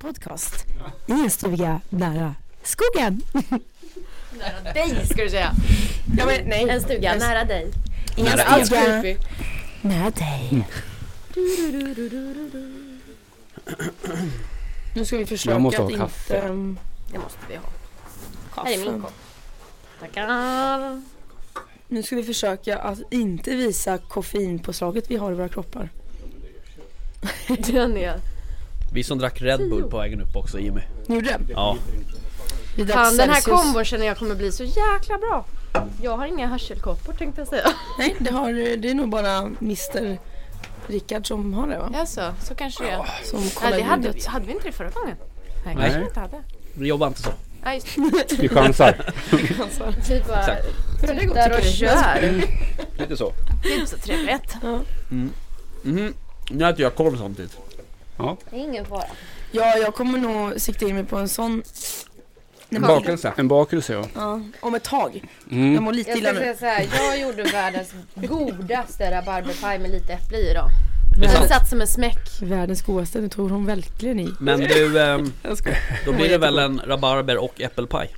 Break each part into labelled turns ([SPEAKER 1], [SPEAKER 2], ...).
[SPEAKER 1] podcast i en stuga nära skogen.
[SPEAKER 2] Nära dig ska du säga.
[SPEAKER 3] Ja, men, nej.
[SPEAKER 2] En stuga nära dig.
[SPEAKER 1] I en
[SPEAKER 3] Inte alls
[SPEAKER 1] stuga
[SPEAKER 3] creepy.
[SPEAKER 1] nära dig.
[SPEAKER 3] Nu ska vi försöka
[SPEAKER 4] Jag måste ha
[SPEAKER 3] att
[SPEAKER 4] kaffe.
[SPEAKER 3] inte... um,
[SPEAKER 2] Det måste vi ha. Här är min
[SPEAKER 3] Kaffe.
[SPEAKER 2] kopp. Tackar.
[SPEAKER 3] Nu ska vi försöka att inte visa koffeinpåslaget vi har i våra kroppar.
[SPEAKER 2] Den är...
[SPEAKER 4] Vi som drack Red Bull på vägen upp också Jimmy.
[SPEAKER 3] Gjorde det?
[SPEAKER 4] Ja.
[SPEAKER 3] Vi drack
[SPEAKER 2] Fan, den här
[SPEAKER 3] Celsius.
[SPEAKER 2] kombon känner jag kommer bli så jäkla bra. Jag har inga hörselkåpor tänkte jag säga.
[SPEAKER 3] Nej, det, har, det är nog bara Mr. Rickard som har det va?
[SPEAKER 2] Jaså, så kanske det är.
[SPEAKER 3] Som
[SPEAKER 2] Nej,
[SPEAKER 3] kollar
[SPEAKER 2] det hade,
[SPEAKER 3] ljudet.
[SPEAKER 2] hade vi inte det förra gången? Nej,
[SPEAKER 4] Nej.
[SPEAKER 2] kanske vi inte hade.
[SPEAKER 4] Vi jobbar inte så.
[SPEAKER 2] Nej, just
[SPEAKER 4] Vi chansar.
[SPEAKER 3] Alltså,
[SPEAKER 2] vi Typ bara
[SPEAKER 4] Exakt.
[SPEAKER 3] hur det går
[SPEAKER 2] där och
[SPEAKER 3] tycker du?
[SPEAKER 2] kör.
[SPEAKER 4] Lite så.
[SPEAKER 2] Det är inte så trevligt.
[SPEAKER 4] Mhm. Nu äter jag korv samtidigt.
[SPEAKER 2] Det är ingen fara.
[SPEAKER 3] Ja, jag kommer nog sikta in mig på en sån
[SPEAKER 4] En bakelse.
[SPEAKER 5] En bakelse ja.
[SPEAKER 3] ja, om ett tag. Jag
[SPEAKER 5] Mm.
[SPEAKER 3] mår lite
[SPEAKER 2] Jag
[SPEAKER 3] illa
[SPEAKER 2] ska
[SPEAKER 3] nu.
[SPEAKER 2] säga så här, jag gjorde världens godaste rabarberpaj med lite äpple i idag.
[SPEAKER 4] Det är
[SPEAKER 2] Den
[SPEAKER 4] sant.
[SPEAKER 2] satt som en smäck.
[SPEAKER 3] Världens godaste, det tog hon verkligen i.
[SPEAKER 4] Men du, ehm,
[SPEAKER 3] Jag ska.
[SPEAKER 4] då blir det väl en rabarber och äppelpaj?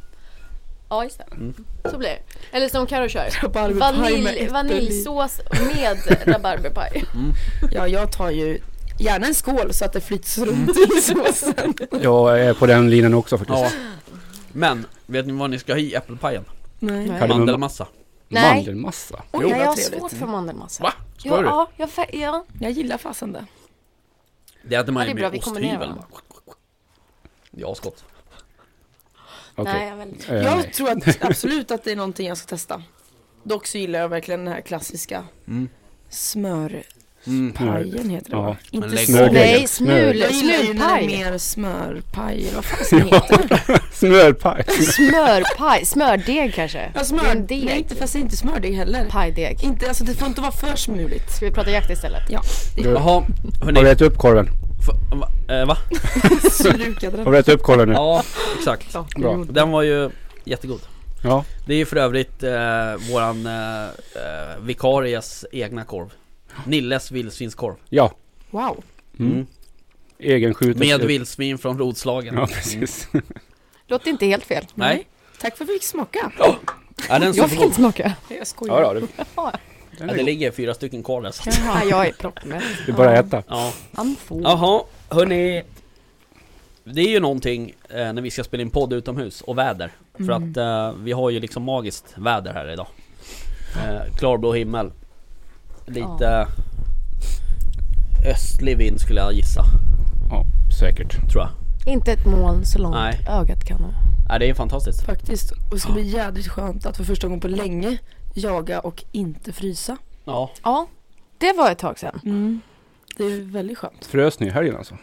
[SPEAKER 2] Ja, just det. Så blir det. Eller som Carro kör.
[SPEAKER 3] Mm. Rabarberpaj med
[SPEAKER 2] Vanilj,
[SPEAKER 3] äpple i.
[SPEAKER 2] vaniljsås med rabarberpaj.
[SPEAKER 3] Ja, jag tar ju gärna en skål så att det flyts runt i såsen.
[SPEAKER 5] Jag är på den linjen också faktiskt.
[SPEAKER 4] Ja. Men, vet ni vad ni ska ha i äppelpajen?
[SPEAKER 3] Nej.
[SPEAKER 5] Kardemumma.
[SPEAKER 4] Mandelmassa.
[SPEAKER 2] Nej.
[SPEAKER 5] Mandelmassa.
[SPEAKER 2] Oj,
[SPEAKER 3] Jo,
[SPEAKER 2] nej, jag har
[SPEAKER 3] vad trevligt.
[SPEAKER 2] svårt för mandelmassa.
[SPEAKER 4] Va?
[SPEAKER 2] Ja,
[SPEAKER 4] Skojar du?
[SPEAKER 2] ja, jag fa- ja.
[SPEAKER 3] Jag gillar fasen det.
[SPEAKER 4] Det äter man
[SPEAKER 2] Ja,
[SPEAKER 4] ju
[SPEAKER 2] det är bra,
[SPEAKER 4] med
[SPEAKER 2] vi
[SPEAKER 4] osthyveln.
[SPEAKER 2] kombinerar
[SPEAKER 4] Det är asgott.
[SPEAKER 5] Okej.
[SPEAKER 2] Nej, jag är väldigt...
[SPEAKER 5] Eh,
[SPEAKER 3] jag
[SPEAKER 5] nej.
[SPEAKER 3] tror att, absolut att det är någonting jag ska testa. Dock så gillar jag verkligen den här klassiska smörpajen heter det
[SPEAKER 5] Mm. Ja.
[SPEAKER 3] va?
[SPEAKER 4] Men
[SPEAKER 3] Inte
[SPEAKER 4] lägg
[SPEAKER 3] smör.
[SPEAKER 4] av.
[SPEAKER 5] Nej,
[SPEAKER 3] Jag gillar ju när det är
[SPEAKER 2] smulpaj.
[SPEAKER 3] mer smörpaj. Vad fasen heter det?
[SPEAKER 5] Smörpaj.
[SPEAKER 2] Smörpaj, smördeg kanske?
[SPEAKER 3] Ja,
[SPEAKER 2] Det är en
[SPEAKER 3] smör.
[SPEAKER 2] deg.
[SPEAKER 3] Nej, inte, fast det är inte smördeg heller.
[SPEAKER 2] Pajdeg.
[SPEAKER 3] Inte, alltså det får inte vara för smuligt.
[SPEAKER 2] Ska vi prata jakt istället?
[SPEAKER 4] Jaha,
[SPEAKER 5] Har du
[SPEAKER 4] hörni.
[SPEAKER 5] ätit upp korven?
[SPEAKER 4] f- va- eh, Va?
[SPEAKER 3] Slukade
[SPEAKER 5] Har
[SPEAKER 3] den.
[SPEAKER 5] du ätit upp korven nu?
[SPEAKER 4] Ja, exakt.
[SPEAKER 2] Mm.
[SPEAKER 5] Bra.
[SPEAKER 4] Den var ju jättegod.
[SPEAKER 5] Ja.
[SPEAKER 4] Det är ju för övrigt eh, våran eh, eh, vikaries egna korv. Nilles vildsvinskorv.
[SPEAKER 5] Ja.
[SPEAKER 3] Wow.
[SPEAKER 4] Mm.
[SPEAKER 5] Egenskjutet.
[SPEAKER 4] Med Mm. vildsvin från Roslagen.
[SPEAKER 5] Ja, precis.
[SPEAKER 2] Låter inte helt fel.
[SPEAKER 4] Nej,
[SPEAKER 3] Tack för att vi fick smaka.
[SPEAKER 4] är den så
[SPEAKER 2] Jag fick
[SPEAKER 4] god?
[SPEAKER 2] inte smaka.
[SPEAKER 3] Jag skojar.
[SPEAKER 5] Ja, då, det,
[SPEAKER 4] Ja, det ligger fyra stycken kvar där så att,
[SPEAKER 2] Nej, jag är proppmätt.
[SPEAKER 5] det är bara att äta.
[SPEAKER 4] ja.
[SPEAKER 2] I'm full.
[SPEAKER 4] Jaha, hörni. Det är ju någonting eh, när vi ska spela in podd utomhus och väder. För
[SPEAKER 2] Mm.
[SPEAKER 4] att eh, vi har ju liksom magiskt väder här idag. Eh, klarblå himmel. Lite östlig vind skulle jag gissa,
[SPEAKER 5] Ja, säkert.
[SPEAKER 4] tror jag.
[SPEAKER 2] Inte ett moln så långt
[SPEAKER 4] Nej.
[SPEAKER 2] ögat kan nå.
[SPEAKER 4] Nej, det är fantastiskt.
[SPEAKER 3] Faktiskt. Och det ska bli jädrigt skönt att för första gången på länge jaga och inte frysa.
[SPEAKER 4] Ja,
[SPEAKER 2] Ja, det var ett tag sedan.
[SPEAKER 3] Mm. Det är väldigt skönt.
[SPEAKER 5] Frös ni i helgen alltså?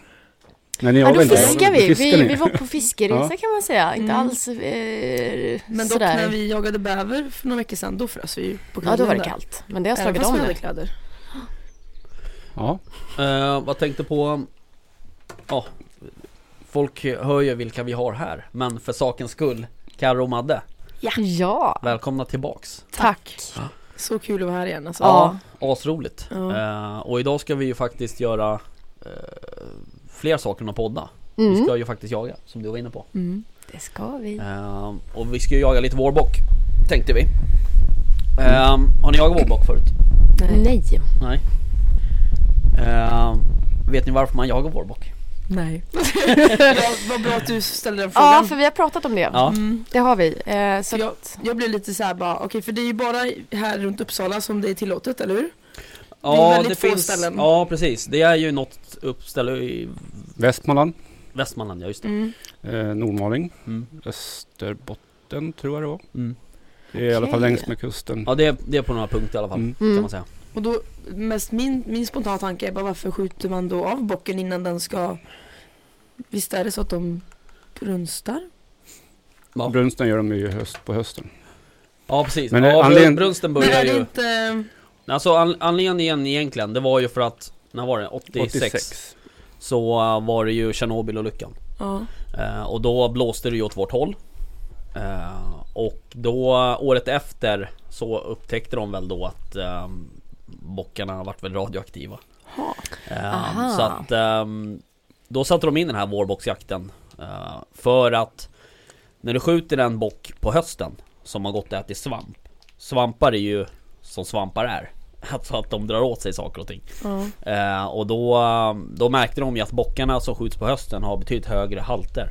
[SPEAKER 5] Nej, ni
[SPEAKER 2] Ja, då
[SPEAKER 5] avväntar.
[SPEAKER 2] fiskar vi.
[SPEAKER 5] Fiskar
[SPEAKER 2] Vi,
[SPEAKER 5] ni?
[SPEAKER 2] vi var på fiskeresa
[SPEAKER 5] Ja.
[SPEAKER 2] kan man säga. Inte alls eh,
[SPEAKER 3] Mm. Men dock
[SPEAKER 2] sådär.
[SPEAKER 3] när vi jagade bäver för några veckor sedan, då frös vi ju på
[SPEAKER 2] Ja, då var det
[SPEAKER 3] där.
[SPEAKER 2] kallt. Men det har
[SPEAKER 3] Även
[SPEAKER 2] slagit
[SPEAKER 3] fast
[SPEAKER 2] om
[SPEAKER 3] vi
[SPEAKER 2] nu.
[SPEAKER 3] hade kläder.
[SPEAKER 5] Ja.
[SPEAKER 4] eh, vad tänkte på... Ja, folk hör ju vilka vi har här. Men för sakens skull, Karro och Madde,
[SPEAKER 2] Ja,
[SPEAKER 4] välkomna tillbaks.
[SPEAKER 2] tack.
[SPEAKER 3] Så kul att vara här igen alltså.
[SPEAKER 2] Ja.
[SPEAKER 4] Asroligt. Eh, och idag ska vi ju faktiskt göra eh, fler saker än att podda. Vi ska ju faktiskt jaga, som du var inne på.
[SPEAKER 2] Mm. Det ska vi.
[SPEAKER 4] Eh, och vi ska ju jaga lite vårbock, tänkte vi. Eh, har ni jagat vårbock förut?
[SPEAKER 2] Nej.
[SPEAKER 4] Nej. Eh, vet ni varför man jagar vårbock?
[SPEAKER 3] Nej. Vad bra att du ställde den frågan.
[SPEAKER 2] Ja, för vi har pratat om det.
[SPEAKER 4] Ja,
[SPEAKER 2] Det har vi. Eh, så
[SPEAKER 3] För jag,
[SPEAKER 2] att,
[SPEAKER 3] jag blev lite så här bara, okej för det är ju bara här runt Uppsala som det är tillåtet, eller hur?
[SPEAKER 4] ja
[SPEAKER 3] väldigt få ställen.
[SPEAKER 4] Ja, precis. Det är ju något uppställe i
[SPEAKER 5] Västmanland.
[SPEAKER 4] Västmanland, ja just det.
[SPEAKER 2] Mm.
[SPEAKER 5] Eh, Nordmaling.
[SPEAKER 4] Mm.
[SPEAKER 5] Österbotten tror jag det var.
[SPEAKER 4] Mm.
[SPEAKER 5] Det är i alla fall
[SPEAKER 2] Okej.
[SPEAKER 5] längs med kusten.
[SPEAKER 4] Ja, det är, det är på några punkter i alla fall,
[SPEAKER 5] Mm.
[SPEAKER 4] kan
[SPEAKER 2] Mm.
[SPEAKER 4] man säga.
[SPEAKER 3] Och då, mest min, min spontana tanke är bara varför skjuter man då av bocken innan den ska... Visst är det så att de brunstar?
[SPEAKER 4] Ja.
[SPEAKER 5] Brunsten gör de ju i höst, på hösten.
[SPEAKER 4] Ja, precis.
[SPEAKER 5] Men,
[SPEAKER 4] Men, ja,
[SPEAKER 5] eh, anledningen-
[SPEAKER 4] Brunsten
[SPEAKER 3] Men
[SPEAKER 4] börjar
[SPEAKER 3] är
[SPEAKER 4] ju...
[SPEAKER 3] det inte...
[SPEAKER 4] Alltså an- anledningen egentligen, det var ju för att, när var det? 86,
[SPEAKER 5] 86.
[SPEAKER 4] Så eh, var det ju Tjernobylolyckan
[SPEAKER 3] Ja.
[SPEAKER 4] eh, Och då blåste det ju åt vårt håll eh, Och då, året efter Så upptäckte de väl då att eh, Bockarna varit väl radioaktiva
[SPEAKER 3] Ha.
[SPEAKER 4] eh,
[SPEAKER 2] Aha.
[SPEAKER 4] Så att ehm, Då satte de in den här vårbocksjakten eh, För att När du skjuter en bock på hösten Som har gått och ätit svamp Svampar är ju som svampar är Alltså att de drar åt sig saker och ting
[SPEAKER 3] Ja.
[SPEAKER 4] Eh, och då, eh, då märkte de ju att bockarna som skjuts på hösten har betydligt högre halter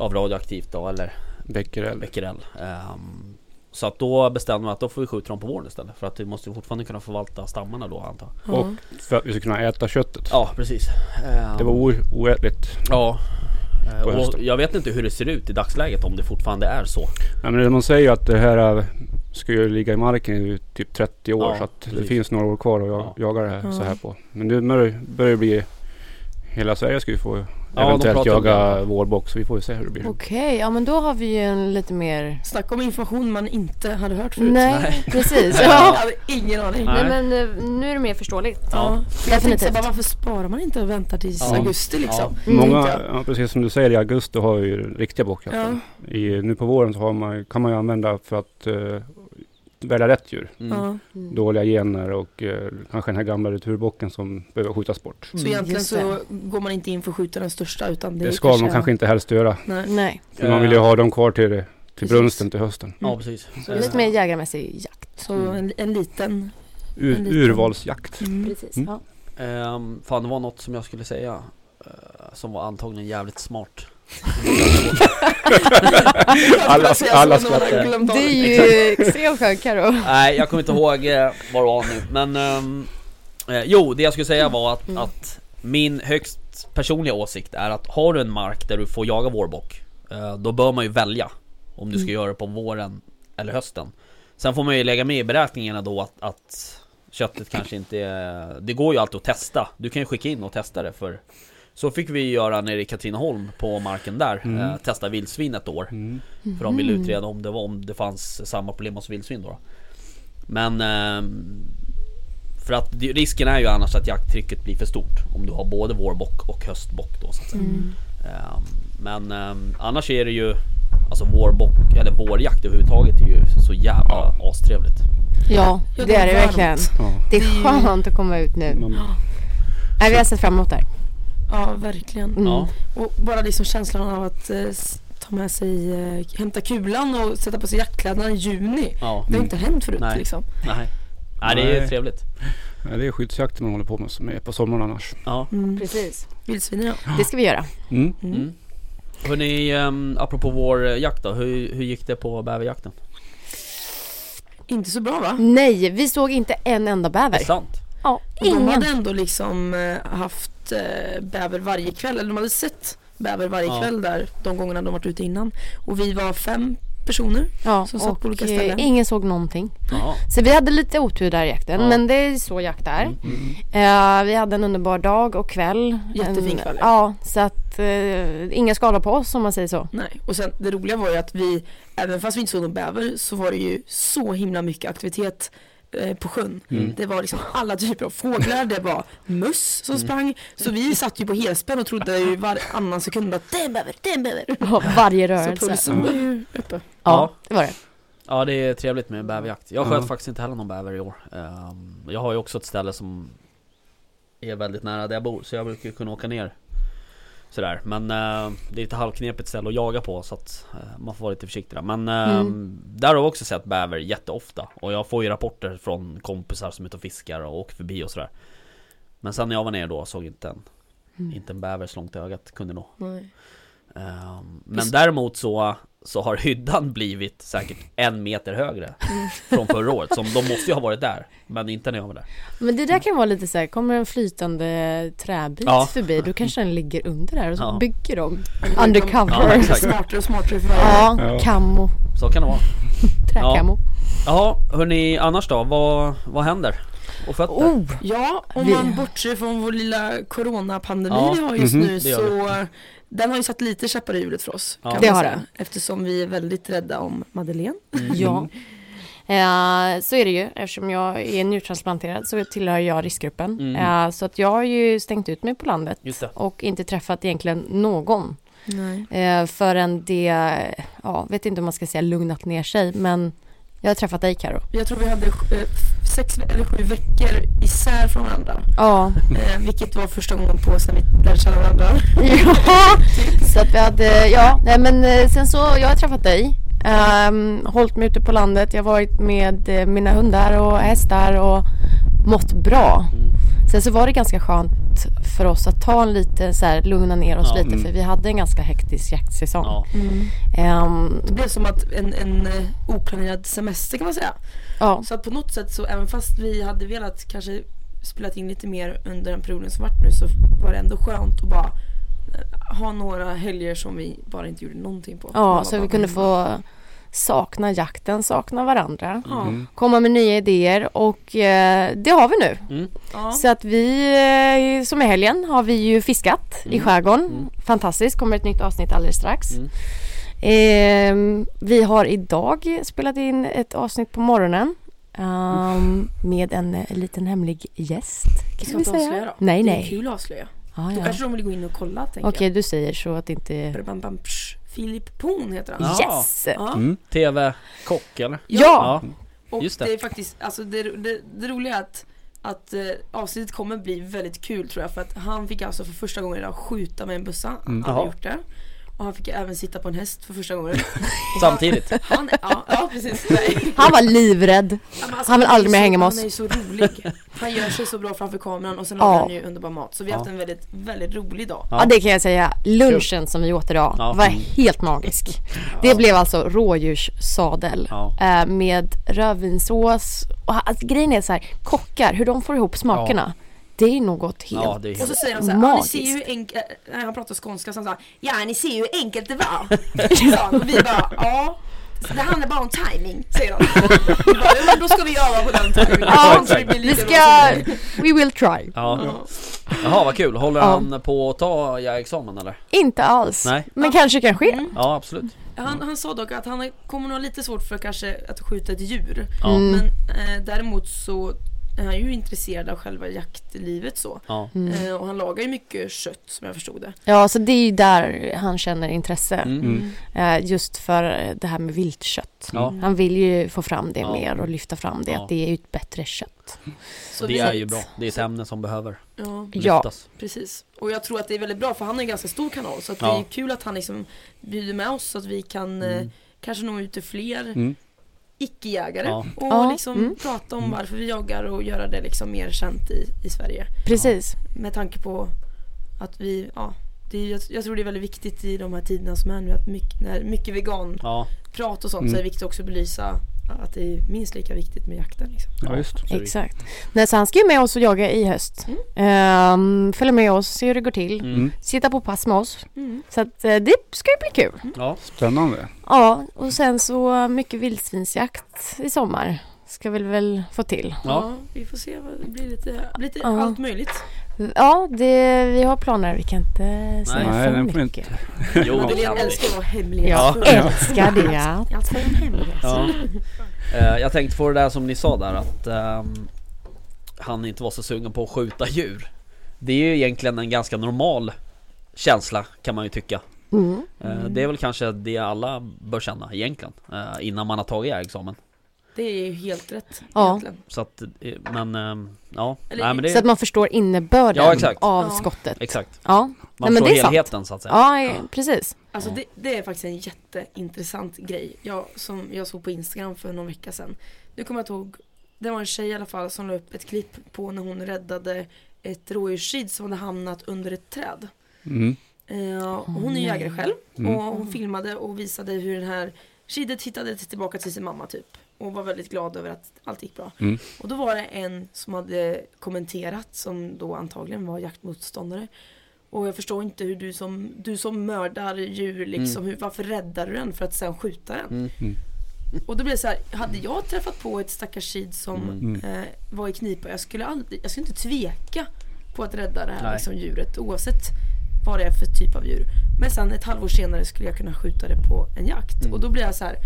[SPEAKER 4] Av radioaktivt då, eller
[SPEAKER 5] Becquerel.
[SPEAKER 4] becquerel Ehm, Så att då bestämde man att då får vi skjuta dem på våren istället För att vi måste ju fortfarande kunna förvalta stammarna då antar jag
[SPEAKER 3] Ja.
[SPEAKER 5] För att vi ska kunna äta köttet.
[SPEAKER 4] Ja precis Ehm,
[SPEAKER 5] Det var o- oätligt.
[SPEAKER 4] Ja Eh,
[SPEAKER 5] På
[SPEAKER 4] och
[SPEAKER 5] hösten.
[SPEAKER 4] jag vet inte hur det ser ut i dagsläget om det fortfarande är så
[SPEAKER 5] Nej, men man säger ju att det här eh, ska ju ligga i marken i typ 30 år.
[SPEAKER 4] Ja,
[SPEAKER 5] så att det
[SPEAKER 4] precis.
[SPEAKER 5] finns några år kvar att jag,
[SPEAKER 4] Ja.
[SPEAKER 5] jaga det här, så
[SPEAKER 3] Ja.
[SPEAKER 5] här på. Men nu börjar börjar det bli... Hela Sverige ska ju få
[SPEAKER 4] de
[SPEAKER 5] eventuellt
[SPEAKER 4] pratar om
[SPEAKER 5] jaga vårbock. Så vi får ju se hur det blir.
[SPEAKER 2] Okej, ja men då har vi ju en lite mer...
[SPEAKER 3] Snacka om information man inte hade hört förut.
[SPEAKER 2] Nej, precis.
[SPEAKER 3] Jag
[SPEAKER 2] Ja.
[SPEAKER 3] hade ingen aning.
[SPEAKER 6] Nej
[SPEAKER 4] Nej.
[SPEAKER 6] men eh, nu är det mer förståeligt.
[SPEAKER 4] Ja.
[SPEAKER 3] Ja. Jag tänkte så här,
[SPEAKER 2] Definitivt.
[SPEAKER 3] bara, varför sparar man inte och väntar tills
[SPEAKER 4] Ja.
[SPEAKER 3] augusti liksom?
[SPEAKER 2] Mm.
[SPEAKER 5] Många,
[SPEAKER 3] tänkte
[SPEAKER 5] ja, precis som du säger, i augusti har vi ju den riktiga
[SPEAKER 3] Ja.
[SPEAKER 5] bockjakten. I, nu på våren så har man, kan man ju använda för att eh, välja rätt djur.
[SPEAKER 4] Mm.
[SPEAKER 3] Ja.
[SPEAKER 5] Dåliga gener och eh, kanske den här gamla returbocken som behöver skjutas bort.
[SPEAKER 3] Så egentligen
[SPEAKER 2] Mm, Just
[SPEAKER 3] så går man inte in för att skjuta den största utan det,
[SPEAKER 5] Det ska man kanske inte helst göra.
[SPEAKER 3] Nej.
[SPEAKER 2] Nej,
[SPEAKER 5] För man vill ju ha dem kvar till, till
[SPEAKER 3] Precis.
[SPEAKER 5] brunsten till hösten.
[SPEAKER 4] Ja precis Eh,
[SPEAKER 2] lite mer jägarmässig jakt.
[SPEAKER 3] Så en, en liten.
[SPEAKER 5] Ur,
[SPEAKER 3] En liten-
[SPEAKER 5] urvalsjakt.
[SPEAKER 3] Mm.
[SPEAKER 6] Precis.
[SPEAKER 5] Mm.
[SPEAKER 6] Ja.
[SPEAKER 4] Ehm, fan det var något som jag skulle säga eh, Som var antagligen jävligt smart
[SPEAKER 5] Alla- alla skrattar.
[SPEAKER 2] Det är
[SPEAKER 3] skrattar.
[SPEAKER 2] ju extremt skönt Carro.
[SPEAKER 4] Nej jag kommer inte ihåg eh, vad det var nu men ehm, eh, Jo det jag skulle säga var att,
[SPEAKER 6] Mm.
[SPEAKER 4] att Min högst personliga åsikt är att har du en mark där du får jaga vårbock eh, Då bör man ju välja Om du ska
[SPEAKER 3] Mm.
[SPEAKER 4] göra det på våren eller hösten Sen får man ju lägga med i beräkningarna då att, att Köttet kanske inte är, Det går ju alltid att testa Du kan ju skicka in och testa det för Så fick vi göra nere i Katrineholm på marken där
[SPEAKER 5] Mm.
[SPEAKER 4] eh, Testa vildsvin ett år
[SPEAKER 5] Mm.
[SPEAKER 4] för de ville utreda om det, var, om det fanns samma problem hos vildsvin då. Men... ehm, För att det- risken är ju annars att jakttrycket blir för stort. Om du har både vårbock och höstbock då så att säga. Ehm, Men ehm, annars är det ju... Alltså vårbock, eller vårjakt överhuvudtaget är ju så jävla astrevligt.
[SPEAKER 2] Ja,
[SPEAKER 3] Ja,
[SPEAKER 2] det är det
[SPEAKER 3] varmt.
[SPEAKER 2] verkligen.
[SPEAKER 5] Ja.
[SPEAKER 2] Det är skönt att komma ut nu.
[SPEAKER 5] Man,
[SPEAKER 2] Nej, vi har sett fram emot det här.
[SPEAKER 3] Ja, verkligen.
[SPEAKER 2] Mm.
[SPEAKER 4] Ja.
[SPEAKER 3] Och bara liksom känslan av att eh, s- ta med sig, eh, hämta kulan och sätta på sig jaktkläderna i juni.
[SPEAKER 4] Ja.
[SPEAKER 3] Det har inte hänt förut
[SPEAKER 4] Mm. Nej.
[SPEAKER 3] liksom.
[SPEAKER 4] Nej. Nej det är ju
[SPEAKER 5] Nej.
[SPEAKER 4] trevligt.
[SPEAKER 5] ja, det är skyddsjakten man håller på med som är på sommaren annars.
[SPEAKER 4] Ja.
[SPEAKER 3] Mm.
[SPEAKER 2] Precis.
[SPEAKER 3] Vildsvinen ja.
[SPEAKER 2] Det ska vi göra.
[SPEAKER 5] Mm.
[SPEAKER 3] Mm.
[SPEAKER 4] Mm. Hörni, ehm, apropå vårjakt då. Hur, hur gick det på bäverjakten?
[SPEAKER 3] Inte så bra va?
[SPEAKER 2] Nej, vi såg inte en enda
[SPEAKER 4] Det är
[SPEAKER 2] bäver.
[SPEAKER 4] sant.
[SPEAKER 2] Ja,
[SPEAKER 3] Och de
[SPEAKER 2] ingen.
[SPEAKER 3] hade ändå liksom eh, haft eh, bäver varje kväll, eller de hade sett bäver varje
[SPEAKER 4] Ja.
[SPEAKER 3] kväll där de gångerna de varit ute innan. Och vi var fem personer.
[SPEAKER 2] Ja,
[SPEAKER 3] som satt på
[SPEAKER 2] och
[SPEAKER 3] olika
[SPEAKER 2] eh,
[SPEAKER 3] ställen.
[SPEAKER 2] ingen såg någonting.
[SPEAKER 4] Ja.
[SPEAKER 2] Så vi hade lite otur där i jakten,
[SPEAKER 4] Ja.
[SPEAKER 2] men det är så jakt är. Eh, vi hade en underbar dag och kväll.
[SPEAKER 3] Jättefin
[SPEAKER 2] En-
[SPEAKER 3] kväll,
[SPEAKER 2] Ja,
[SPEAKER 3] ja.
[SPEAKER 2] så att eh, inga skador på oss om man säger så.
[SPEAKER 3] Nej. Och sen det roliga var ju att vi, även fast vi inte såg någon bäver, så var det ju så himla mycket aktivitet eh, på sjön.
[SPEAKER 4] Mm.
[SPEAKER 3] Det var liksom alla typer av fåglar, det var möss som
[SPEAKER 4] Mm.
[SPEAKER 3] sprang. Så vi satt ju på helspänn och trodde ju varannan sekund att det är en bäver, det är en bäver.
[SPEAKER 2] Ja, varje
[SPEAKER 3] Så
[SPEAKER 2] rörelse.
[SPEAKER 3] pulsen var ju uppe.
[SPEAKER 2] Ja, det var det.
[SPEAKER 4] Ja det är trevligt med bäverjakt. Jag sköt
[SPEAKER 5] Ja.
[SPEAKER 4] faktiskt inte heller någon bäver i år. Ehm, Jag har ju också ett ställe som är väldigt nära där jag bor så jag brukar ju kunna åka ner Sådär men eh, det är ett halvknepigt ställe att jaga på så att eh, man får vara lite försiktig där. Men eh, där har jag också sett bäver jätteofta och jag får ju rapporter från kompisar som är ute och fiskar och åker förbi och sådär. Men sen när jag var nere då såg inte en, inte en bäver så långt ögat kunde nå. Ehm, Men
[SPEAKER 3] Visst.
[SPEAKER 4] däremot så, så har hyddan blivit säkert en meter högre från förra året. Som de måste ju ha varit där, men inte när jag var där.
[SPEAKER 2] Men det där kan vara lite så här, kommer en flytande träbit
[SPEAKER 4] Ja.
[SPEAKER 2] förbi, då kanske den ligger under där och så
[SPEAKER 4] Ja.
[SPEAKER 2] bygger de
[SPEAKER 3] Eller
[SPEAKER 4] Ja,
[SPEAKER 2] undercover.
[SPEAKER 4] exakt.
[SPEAKER 3] Smartare och smartare för varje
[SPEAKER 2] Ja,
[SPEAKER 5] Ja.
[SPEAKER 2] kammo,
[SPEAKER 4] Så kan det vara.
[SPEAKER 2] träkammo.
[SPEAKER 4] Jaha, hörni, annars då? Vad, vad händer? Och fötter?
[SPEAKER 2] Oh,
[SPEAKER 3] Ja, om
[SPEAKER 2] Vi-
[SPEAKER 3] man bortser från vår lilla coronapandemi
[SPEAKER 4] Ja,
[SPEAKER 3] vi har just
[SPEAKER 5] mhm,
[SPEAKER 3] nu
[SPEAKER 4] det gör
[SPEAKER 3] så den har ju satt lite käppar i hjulet för oss.
[SPEAKER 4] Ja.
[SPEAKER 3] kan
[SPEAKER 2] Det
[SPEAKER 3] man
[SPEAKER 2] har
[SPEAKER 3] säga.
[SPEAKER 2] den.
[SPEAKER 3] Eftersom vi är väldigt rädda om Madeleine.
[SPEAKER 2] ja. Mm. Eh, så är det ju, eftersom jag är njurtransplanterad så tillhör jag riskgruppen. Eh, så att jag har ju stängt ut mig på landet
[SPEAKER 4] Just det.
[SPEAKER 2] och inte träffat egentligen någon
[SPEAKER 3] Nej.
[SPEAKER 2] eh, förrän det, ja, vet inte om man ska säga lugnat ner sig, men jag har träffat dig Karo.
[SPEAKER 3] Jag tror vi hade eh, f- sex ve- eller sju veckor isär från varandra.
[SPEAKER 2] Ja.
[SPEAKER 3] Eh, vilket var första gången på sen vi lärde känna varandra.
[SPEAKER 2] ja. Så att vi hade, ja, nej men eh, sen så, jag har träffat dig. Um, hållit mig ute på landet. Jag har varit med eh, mina hundar och hästar och mått bra.
[SPEAKER 4] Mm.
[SPEAKER 2] Sen så var det ganska skönt för oss att ta en lite så här, lugna ner oss
[SPEAKER 4] Ja.
[SPEAKER 2] lite för vi hade en ganska hektisk jaktsäsong.
[SPEAKER 4] Ja.
[SPEAKER 2] Ehm,
[SPEAKER 3] Det blev som att en, en eh, oplanerad semester kan man säga.
[SPEAKER 2] ja.
[SPEAKER 3] Så att på något sätt så även fast vi hade velat kanske spelat in lite mer under den perioden som vart nu så var det ändå skönt att bara eh, ha några helger som vi bara inte gjorde någonting på. Man var
[SPEAKER 2] ja, så
[SPEAKER 3] bara
[SPEAKER 2] vi kunde
[SPEAKER 3] hemma.
[SPEAKER 2] få sakna jakten, sakna varandra.
[SPEAKER 3] Ja.
[SPEAKER 4] Mm.
[SPEAKER 2] komma med nya idéer och eh, det har vi nu.
[SPEAKER 3] Ja.
[SPEAKER 2] Så att vi, eh, som i helgen, har vi ju fiskat i
[SPEAKER 3] Mm.
[SPEAKER 2] skärgården. Fantastiskt, kommer ett nytt avsnitt alldeles strax. Ehm, vi har idag spelat in ett avsnitt på morgonen. ehm, med en eh, liten hemlig gäst.
[SPEAKER 3] Ska
[SPEAKER 2] kan
[SPEAKER 3] vi
[SPEAKER 2] vi
[SPEAKER 3] inte
[SPEAKER 2] säga.
[SPEAKER 3] avslöja då?
[SPEAKER 2] Nej,
[SPEAKER 3] det är
[SPEAKER 2] nej.
[SPEAKER 3] kul att avslöja.
[SPEAKER 2] Ah,
[SPEAKER 3] Då
[SPEAKER 2] ja. Okej,
[SPEAKER 3] kanske de vill gå in och kolla tänker okay.
[SPEAKER 2] du säger så att det inte...
[SPEAKER 3] jag. Bam, bam, psh. Filip Poon heter han.
[SPEAKER 4] Ja.
[SPEAKER 2] Yes!
[SPEAKER 3] Ja.
[SPEAKER 4] Mm. TV-kock eller?
[SPEAKER 2] Ja!
[SPEAKER 3] Och
[SPEAKER 4] Just det.
[SPEAKER 3] det. är faktiskt, alltså det, det, det roliga är att, att eh, avsnittet kommer bli väldigt kul tror jag för att han fick alltså för första gången idag skjuta med en bössa,
[SPEAKER 2] Mm.
[SPEAKER 3] han har
[SPEAKER 4] Jaha.
[SPEAKER 3] aldrig gjort det. Och han fick även sitta på en häst för första gången.
[SPEAKER 4] Samtidigt.
[SPEAKER 3] Han, ja, ja precis. Nej.
[SPEAKER 2] Han var livrädd.
[SPEAKER 3] Ja, men
[SPEAKER 2] Han vill aldrig
[SPEAKER 3] är
[SPEAKER 2] mer
[SPEAKER 3] så-
[SPEAKER 2] hänga med oss.
[SPEAKER 3] Han är ju så rolig. Han gör sig så bra framför kameran och sen
[SPEAKER 2] Ja.
[SPEAKER 3] har han ju underbar mat. Så vi har
[SPEAKER 4] Ja.
[SPEAKER 3] haft en väldigt, väldigt rolig dag.
[SPEAKER 2] Ja. det kan jag säga. Lunchen som vi åt idag
[SPEAKER 4] Ja.
[SPEAKER 2] var helt magisk. Det blev alltså rådjurssadel
[SPEAKER 4] Ja.
[SPEAKER 2] eh, med rödvinssås. Och, ha- alltså, grejen är så här, kockar, hur de får ihop smakerna. Det är något helt...
[SPEAKER 4] Ja, det är
[SPEAKER 3] Och så
[SPEAKER 4] helt...
[SPEAKER 3] säger han såhär, ja, ni
[SPEAKER 2] Magiskt.
[SPEAKER 3] ser ju hur enkelt, nej han pratar skånska så han sa, ja ni ser ju hur enkelt det var. Sa han. och vi bara, ja. Så det handlar bara om timing, säger han. Vi bara, ja, men då ska vi öva på den timingen.
[SPEAKER 2] Ja,
[SPEAKER 3] Så det blir
[SPEAKER 2] vi
[SPEAKER 3] lika
[SPEAKER 2] ska...
[SPEAKER 3] bra som det.
[SPEAKER 2] We will try.
[SPEAKER 4] Ja. Jaha vad kul, håller
[SPEAKER 2] Ja.
[SPEAKER 4] han på att ta jägarexamen eller?
[SPEAKER 2] Inte alls.
[SPEAKER 4] Nej.
[SPEAKER 2] Men kanske kan ske.
[SPEAKER 4] Ja absolut.
[SPEAKER 3] Mm. Han, han sa dock att han kommer nog ha lite svårt för kanske att skjuta ett djur.
[SPEAKER 4] Ja. Mm.
[SPEAKER 3] Men
[SPEAKER 2] Mm.
[SPEAKER 3] eh, däremot så är han ju intresserad av själva jaktlivet så.
[SPEAKER 4] Ja.
[SPEAKER 3] Eh, och han lagar ju mycket kött som jag förstod det.
[SPEAKER 2] Mm. Ja, så det är ju där han känner intresse.
[SPEAKER 5] Mm.
[SPEAKER 2] Eh, Just för det här med viltkött.
[SPEAKER 4] Ja.
[SPEAKER 2] Han vill ju få fram det
[SPEAKER 4] Ja.
[SPEAKER 2] mer och lyfta fram det,
[SPEAKER 4] Ja.
[SPEAKER 2] att det är ett bättre kött.
[SPEAKER 3] Så
[SPEAKER 4] Det
[SPEAKER 3] vi-
[SPEAKER 4] är ju bra, det är ett ämne som behöver
[SPEAKER 3] Ja.
[SPEAKER 2] Ja.
[SPEAKER 4] lyftas.
[SPEAKER 3] Precis, och jag tror att det är väldigt bra för han är en ganska stor kanal så att det
[SPEAKER 4] Ja.
[SPEAKER 3] är kul att han liksom bjuder med oss så att vi kan eh, kanske nå ut till fler
[SPEAKER 5] Mm.
[SPEAKER 3] icke-jägare
[SPEAKER 4] Ja.
[SPEAKER 3] och
[SPEAKER 2] Ja,
[SPEAKER 3] liksom
[SPEAKER 2] mm.
[SPEAKER 3] prata om varför vi jagar och göra det liksom mer känt i, i Sverige.
[SPEAKER 2] Precis.
[SPEAKER 3] Med tanke på att vi, ja, det är, jag, jag tror det är väldigt viktigt i de här tiderna som är nu att mycket, när mycket veganprat
[SPEAKER 4] Ja.
[SPEAKER 3] och sånt så är
[SPEAKER 5] Mm.
[SPEAKER 3] det viktigt också att belysa att det är minst lika viktigt med jakten. Liksom.
[SPEAKER 5] Ja, just.
[SPEAKER 4] absolut.
[SPEAKER 2] Exakt. Nej, så han ska ju med oss och jaga i höst. Ehm, följa med oss, se hur det går till.
[SPEAKER 4] Mm.
[SPEAKER 2] Sitta på pass med oss.
[SPEAKER 3] Mm.
[SPEAKER 2] Så att, eh, det ska ju bli kul.
[SPEAKER 4] Ja.
[SPEAKER 5] Spännande.
[SPEAKER 2] Ja, och sen så mycket vildsvinsjakt i sommar. Ska vi väl få till.
[SPEAKER 4] Ja.
[SPEAKER 3] vi får se, vad- det blir lite, lite
[SPEAKER 2] Ja.
[SPEAKER 3] allt möjligt.
[SPEAKER 2] Ja, det, vi har planer. Vi kan inte säga
[SPEAKER 5] Nej,
[SPEAKER 2] för
[SPEAKER 5] den får
[SPEAKER 2] mycket.
[SPEAKER 4] Jo, det kan
[SPEAKER 3] Madeleine
[SPEAKER 4] vi.
[SPEAKER 3] älskar att vara hemlig.
[SPEAKER 2] Jag älskar det.
[SPEAKER 3] Jag ska hem hemlighet.
[SPEAKER 4] Ja. Eh, jag tänkte på det där som ni sa där att ehm, han inte var så sugen på att skjuta djur. Det är ju egentligen en ganska normal känsla kan man ju tycka.
[SPEAKER 2] Mm.
[SPEAKER 4] Eh, Det är väl kanske det alla bör känna egentligen eh, innan man har tagit jägarexamen.
[SPEAKER 3] Det är ju helt rätt
[SPEAKER 2] Ja.
[SPEAKER 3] egentligen.
[SPEAKER 4] Så att, eh, men ehm, ja,
[SPEAKER 3] Eller-
[SPEAKER 4] nej men
[SPEAKER 2] Så att
[SPEAKER 4] det,
[SPEAKER 2] man förstår innebörden
[SPEAKER 4] Ja, exakt.
[SPEAKER 2] av
[SPEAKER 3] Ja.
[SPEAKER 2] skottet.
[SPEAKER 4] exakt.
[SPEAKER 2] Ja,
[SPEAKER 4] Man
[SPEAKER 2] men
[SPEAKER 4] får
[SPEAKER 2] det är sant.
[SPEAKER 4] helheten så att säga.
[SPEAKER 2] ja, eh, precis.
[SPEAKER 3] Alltså det, det är faktiskt en jätteintressant grej. Jag, som jag såg på Instagram för någon vecka sedan. Nu kommer jag inte ihåg. Det var en tjej i alla fall som la upp ett klipp på när hon räddade ett rådjurskid som hade hamnat under ett träd.
[SPEAKER 5] Mm.
[SPEAKER 3] Eh, och hon är ju jägare själv. Och hon filmade och visade hur den här kidet hittade tillbaka till sin mamma typ. Och var väldigt glad över att allt gick bra.
[SPEAKER 5] Mm.
[SPEAKER 3] Och då var det en som hade kommenterat som då antagligen var jaktmotståndare. Och jag förstår inte hur du som, du som mördar djur liksom, hur, varför räddar du den för att sen skjuta den? Och då blir det så här, hade jag träffat på ett stackars kid som
[SPEAKER 4] Mm.
[SPEAKER 3] eh, var i knipa, jag skulle, aldrig, jag skulle inte tveka på att rädda det här
[SPEAKER 4] Nej.
[SPEAKER 3] liksom, djuret oavsett vad det är för typ av djur. Men sen ett halvår senare skulle jag kunna skjuta det på en jakt.
[SPEAKER 4] Mm.
[SPEAKER 3] Och då blir jag så här,